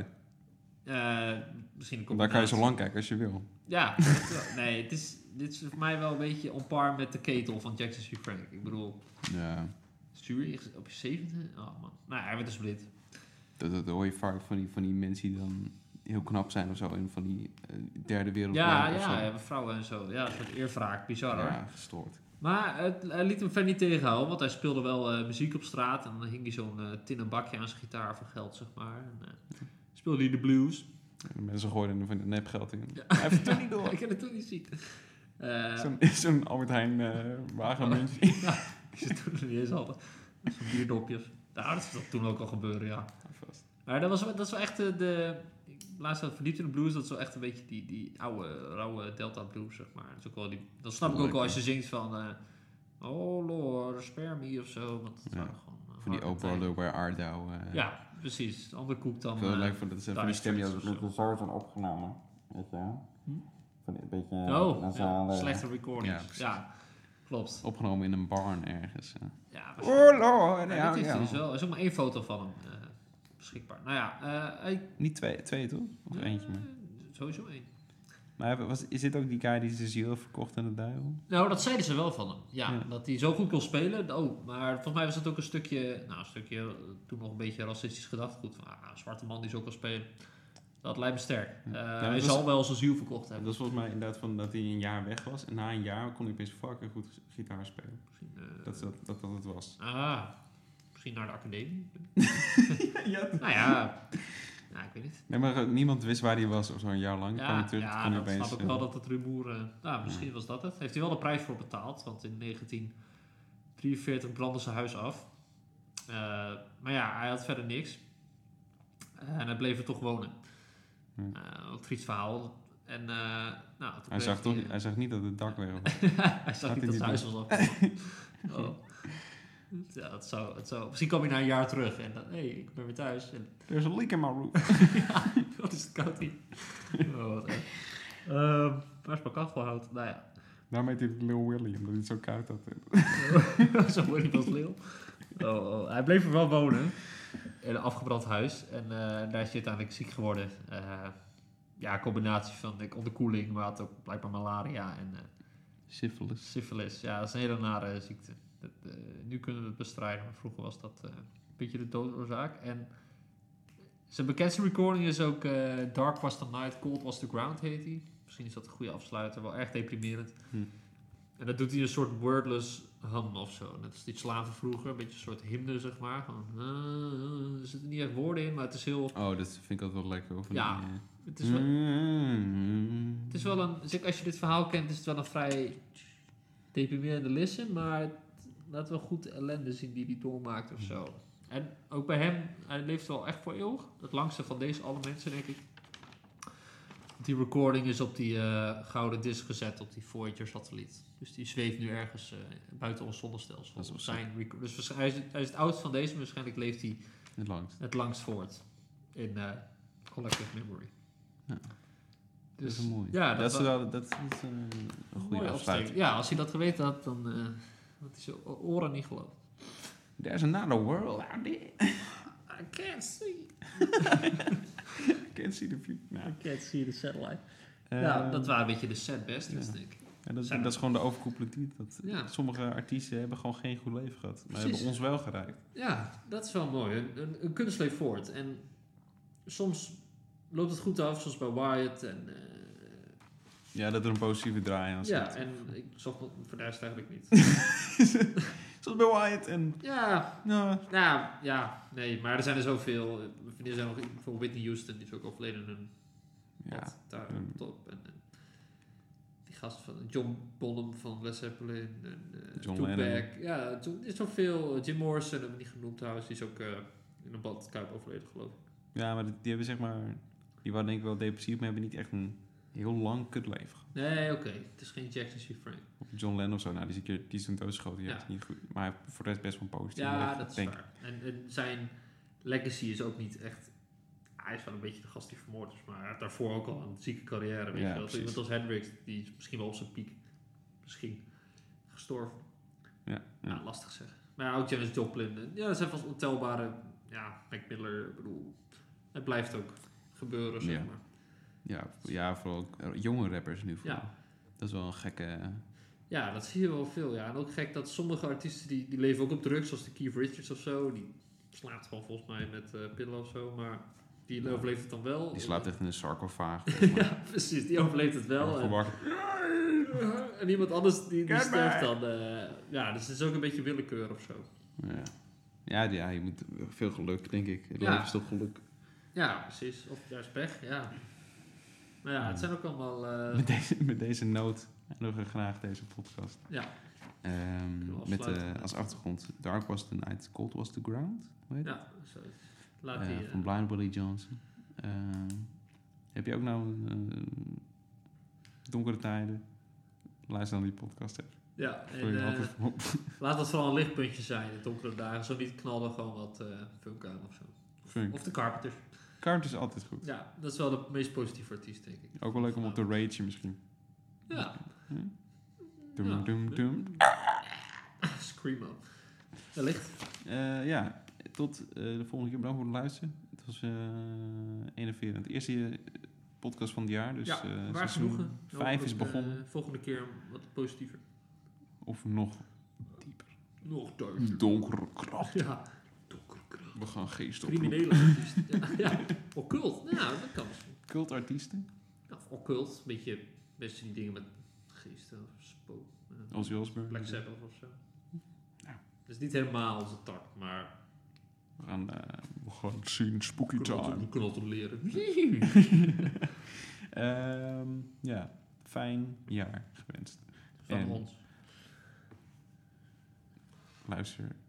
eh, misschien
Daar kan je
een combinatie.
zo lang kijken als je wil.
Ja, dat wel. nee, het is, dit is voor mij wel een beetje on par met de ketel van Jackson C. Frank. Ik bedoel,
Ja,
zuur in je gezicht- op je zevende? Oh man. Nou, hij werd dus blind.
dat, dat hoor je vaak van die, van die mensen die dan heel knap zijn of zo. En van die eh, derde wereld.
Ja,
of zo.
ja, ja, vrouwen en zo. Ja, een soort eerwraak. Bizar hoor.
ja, gestoord.
Maar het, hij liet hem verder niet tegenhouden, want hij speelde wel eh, muziek op straat. En dan hing hij zo'n eh, tinnen bakje aan zijn gitaar voor geld, zeg maar. En, eh, speelde hij de blues.
En de mensen gooiden er van dat nepgeld in.
Ja.
Hij heeft het toch niet door.
ik heb het toen niet zien. Eh,
Zo'n zo'n Albert Heijn eh wagenmuntje.
die ze toen nog niet eens hadden. Zo'n bierdopjes. Nou, dat is toch toen ook al gebeuren, ja.
Vast.
Maar dat, was, wel- dat is wel echt eh, de... ik- Laatst had ik verdiept in de blues, dat is wel echt een beetje die, die oude, rauwe Delta blues, zeg maar. Dat, is ook wel die, dat snap ik ook wel als je zingt van... eh, oh lord, spare me of zo. Want dat
Ja,
waren gewoon, eh,
Van die
harde
Oprah
tijden.
Lowbar Ardau. eh.
Ja, precies. Andere koek dan.
Ik vind het
eh,
leuk voor dat ze van die
Dire
stem die
Straits
altijd-
of zo.
zo zijn opgenomen. Weet je wel?
dus Hm?
Van een beetje
oh,
eh,
ja, slechte recordings.
Ja,
Ja,
precies.
klopt.
Opgenomen in een barn ergens. eh.
Ja,
Oh lord,
maar
ja,
dit is er
ja.
dus wel. Er is ook maar één foto van hem eh, beschikbaar. Nou ja, eh, hij-
Niet twee, twee toch?
Of eentje
eh,
meer.
Sowieso één.
Maar was, is dit ook die guy die zijn ziel verkocht aan de duivel?
Nou, dat zeiden ze wel van hem. Ja,
Ja.
dat hij zo goed kon spelen. Oh, maar volgens mij was dat ook een stukje, nou, een stukje eh, toen nog een beetje racistisch gedachtgoed. Van, ah, een zwarte man die zo kan spelen. Dat lijkt me sterk. Eh,
Ja,
hij
dat was-
zal wel zijn ziel verkocht
Dat
hebben.
was volgens mij inderdaad van dat hij een jaar weg was. En na een jaar kon hij opeens fucking goed gitaar spelen.
Misschien, eh,
Dat dat, dat, dat het was.
Ah, misschien naar de academie.
ja.
Nou ja, nou, ik weet niet.
Nee, maar ook niemand wist waar hij was of zo een jaar lang. Kwam hij
Ja,
terug,
ja
kon hij
dat
opeens,
snap ik wel
eh,
dat het rumoer... eh, nou, misschien was dat het. Heeft hij wel de prijs voor betaald, want in 1943 brandde zijn huis af. Eh, maar ja, hij had verder niks. en hij bleef er toch wonen.
Hmm.
Eh, ook triest verhaal. En, eh, nou, toen
Hij
bleef
zag, toch,
hij,
niet- hij zag niet dat het dak weg was.
hij zag
Gaat
niet
hij
dat zijn
niet
huis was afgebrand. oh. Ja, het zou, het zou... Misschien kwam hij na een jaar terug en dan... Hé, hey, ik ben weer thuis. En
There's a leak in my roof.
ja, dat is het koud hier. Oh, wat erg. Ehm, Waar is mijn kachelhout? Nou ja,
Daarmee heet hij Lil Willy, omdat hij het zo koud had.
zo word ik als leeuw. Oh, oh. Hij bleef er wel wonen. In een afgebrand huis. En eh, daar is hij uiteindelijk ziek geworden. Eh, ja, een combinatie van ik onderkoeling, maar had ook blijkbaar malaria en eh,
Syphilis.
syfilis. Ja, dat is een hele nare ziekte. Dat, eh, nu kunnen we het bestrijden, maar vroeger was dat eh, een beetje de doodsoorzaak. En zijn bekendste recording is ook eh, Dark Was the Night, Cold Was the Ground heet hij. Misschien is dat een goede afsluiter, wel erg deprimerend.
Hm.
En dat doet hij een soort wordless hum of zo. Net als die slaven vroeger, een beetje een soort hymne zeg maar. Gewoon, eh, eh, er zitten niet echt woorden in, maar het is heel...
Oh, dat vind ik altijd wel lekker. Of
Ja.
die, eh,
Het is wel,
Mm.
Het is wel een, zeker als je dit verhaal kent, is het wel een vrij deprimerende listen, maar het laat wel goed de ellende zien die hij doormaakt
Hmm.
of zo. En ook bij hem, hij leeft wel echt voor eeuwig. Het langste van deze alle mensen, denk ik. Die recording is op die eh, gouden disc gezet op die Voyager-satelliet. Dus die zweeft nu ergens eh, buiten ons zonnestelsel.
Dat is wel
zijn record. Dus waarsch- hij is, hij is het oudst van deze, maar waarschijnlijk leeft hij
Het langst.
het langst voort in eh, collective memory.
Ja. Dat is
Dus-
wel mooi.
Ja,
dat, is
wa-
wel, dat, dat is eh, een
Mooie
goede afsluiting.
opsteker. Ja, als hij dat geweten had, dan eh had hij zijn o- oren niet geloofd.
There's another world out there.
I can't see.
Ik ken ze de vlieg. Nou,
I can't see the satellite. ja,
eh,
dat waren een beetje de sad best,
ja.
denk ik.
ja, dat,
zijn-
dat is gewoon de overkoepelende titel. Dat,
Ja.
Sommige artiesten hebben gewoon geen goed leven gehad. Maar
Precies.
hebben ons wel gereikt.
Ja, dat is wel mooi. Een, een, een kunst leeft voort. En soms loopt het goed af, zoals bij Wyatt. En, eh,
Ja, dat er een positieve draai aan zit.
ja, en ik zocht het verduist eigenlijk niet.
Zoals bij Wyatt en...
ja,
Nou,
Nou, ja, nee, maar er zijn er zoveel. Er zijn nog, bijvoorbeeld Whitney Houston, die is ook overleden in een
ja.
pad daar
Mm.
op top. En, en die gast van John Bonham van Led Zeppelin. En, eh,
John
Tupac.
Lennon.
Ja, er is zoveel. Jim Morrison hebben we niet genoemd trouwens. Die is ook eh, in een badkuip overleden, geloof ik.
Ja, maar die, die hebben zeg maar... Die waren denk ik wel depressief, maar hebben niet echt een heel lang kutleven gehad.
Nee, oké. Het is geen Jackson C. Frank.
Of John Lennon of zo, nou, die is, een keer, die is toen doodgeschoten. Die
Ja.
heeft het niet goed. Maar hij heeft voor de rest best wel een positief
Ja,
leven,
dat is
denk ik.
waar. En, en zijn legacy is ook niet echt... Hij is wel een beetje de gast die vermoord is, maar hij had daarvoor ook al een zieke carrière. Weet
Ja,
je wel. Zo
precies.
Iemand als Hendrix, die is misschien wel op zijn piek. Misschien gestorven.
Ja, ja.
Nou, lastig zeggen. Maar ja, ook Janis Joplin. eh, Ja, dat zijn vast ontelbare... Ja, Mac Miller, ik bedoel... Het blijft ook gebeuren, zeg
Ja.
maar.
Ja, ja, vooral ook, eh, jonge rappers nu. Vooral.
Ja.
Dat is wel een gekke...
Ja, dat zie je wel veel. Ja. En ook gek dat sommige artiesten die, die leven ook op drugs, zoals de Keith Richards of zo. Die slaapt gewoon volgens mij met eh, pillen of zo, maar die
Ja.
overleeft het dan wel.
Die slaapt echt in een sarcofaag.
Oh. ja, precies, die overleeft het wel. eh. En,
Gewacht.
en iemand anders die, die
Get
sterft dan. eh, ja, dus het is ook een beetje willekeur of zo.
Ja. Ja, ja, je moet veel geluk, denk ik. Het
Ja.
leven is toch geluk.
Ja, precies. Of juist pech, ja. Maar ja, het zijn ook allemaal... eh
Met deze, met deze noot eindigen we graag deze podcast.
ja,
Ehm,
Kunnen we
met
afsluiten?
eh, als achtergrond Dark Was the Night, Cold Was the Ground. Hoe heet
ja, zo. Laat
Eh,
die... eh,
van Blind Willie Johnson. Ehm, heb je ook nou eh,
Donkere tijden. Luister dan die podcast. Hè.
ja, en,
Voor je
eh,
altijd van op.
laat dat vooral een lichtpuntje zijn in donkere dagen. Zo niet knallen gewoon wat eh funk aan of zo.
Funk.
Of de Carpenters.
Kaart is altijd goed.
Ja, dat is wel de meest positieve artiest, denk ik.
Ook wel leuk om op te ragen misschien.
Ja.
Hm? Doem,
Ja.
doem, doem.
Screamo. Wellicht.
Eh, ja, tot eh, de volgende keer. Bedankt voor het luisteren. Het was eh enerverend. De eerste eh, podcast van het jaar. Dus
ja,
eh,
waar
seizoen
genoegen.
vijf is
Hopelijk, eh,
begonnen.
volgende keer wat positiever.
Of nog
Nog duister.
donkere kracht.
Ja. Donkere kracht.
We gaan geest op.
Criminele artiest. ja, ja. Occult. Nou, dat kan misschien.
Cultartiesten.
Ja, Of occult. Een beetje mensen die dingen met geesten of spook. eh,
Ozzy Osbourne.
Black Sabbath of zo.
Nou.
Dat is niet helemaal onze tak, maar
We gaan, eh, we gaan het zien, spooky
we kunnen
time.
het- we kunnen het op leren.
Ehm, ja, fijn jaar gewenst.
Van
En-
ons.
Luister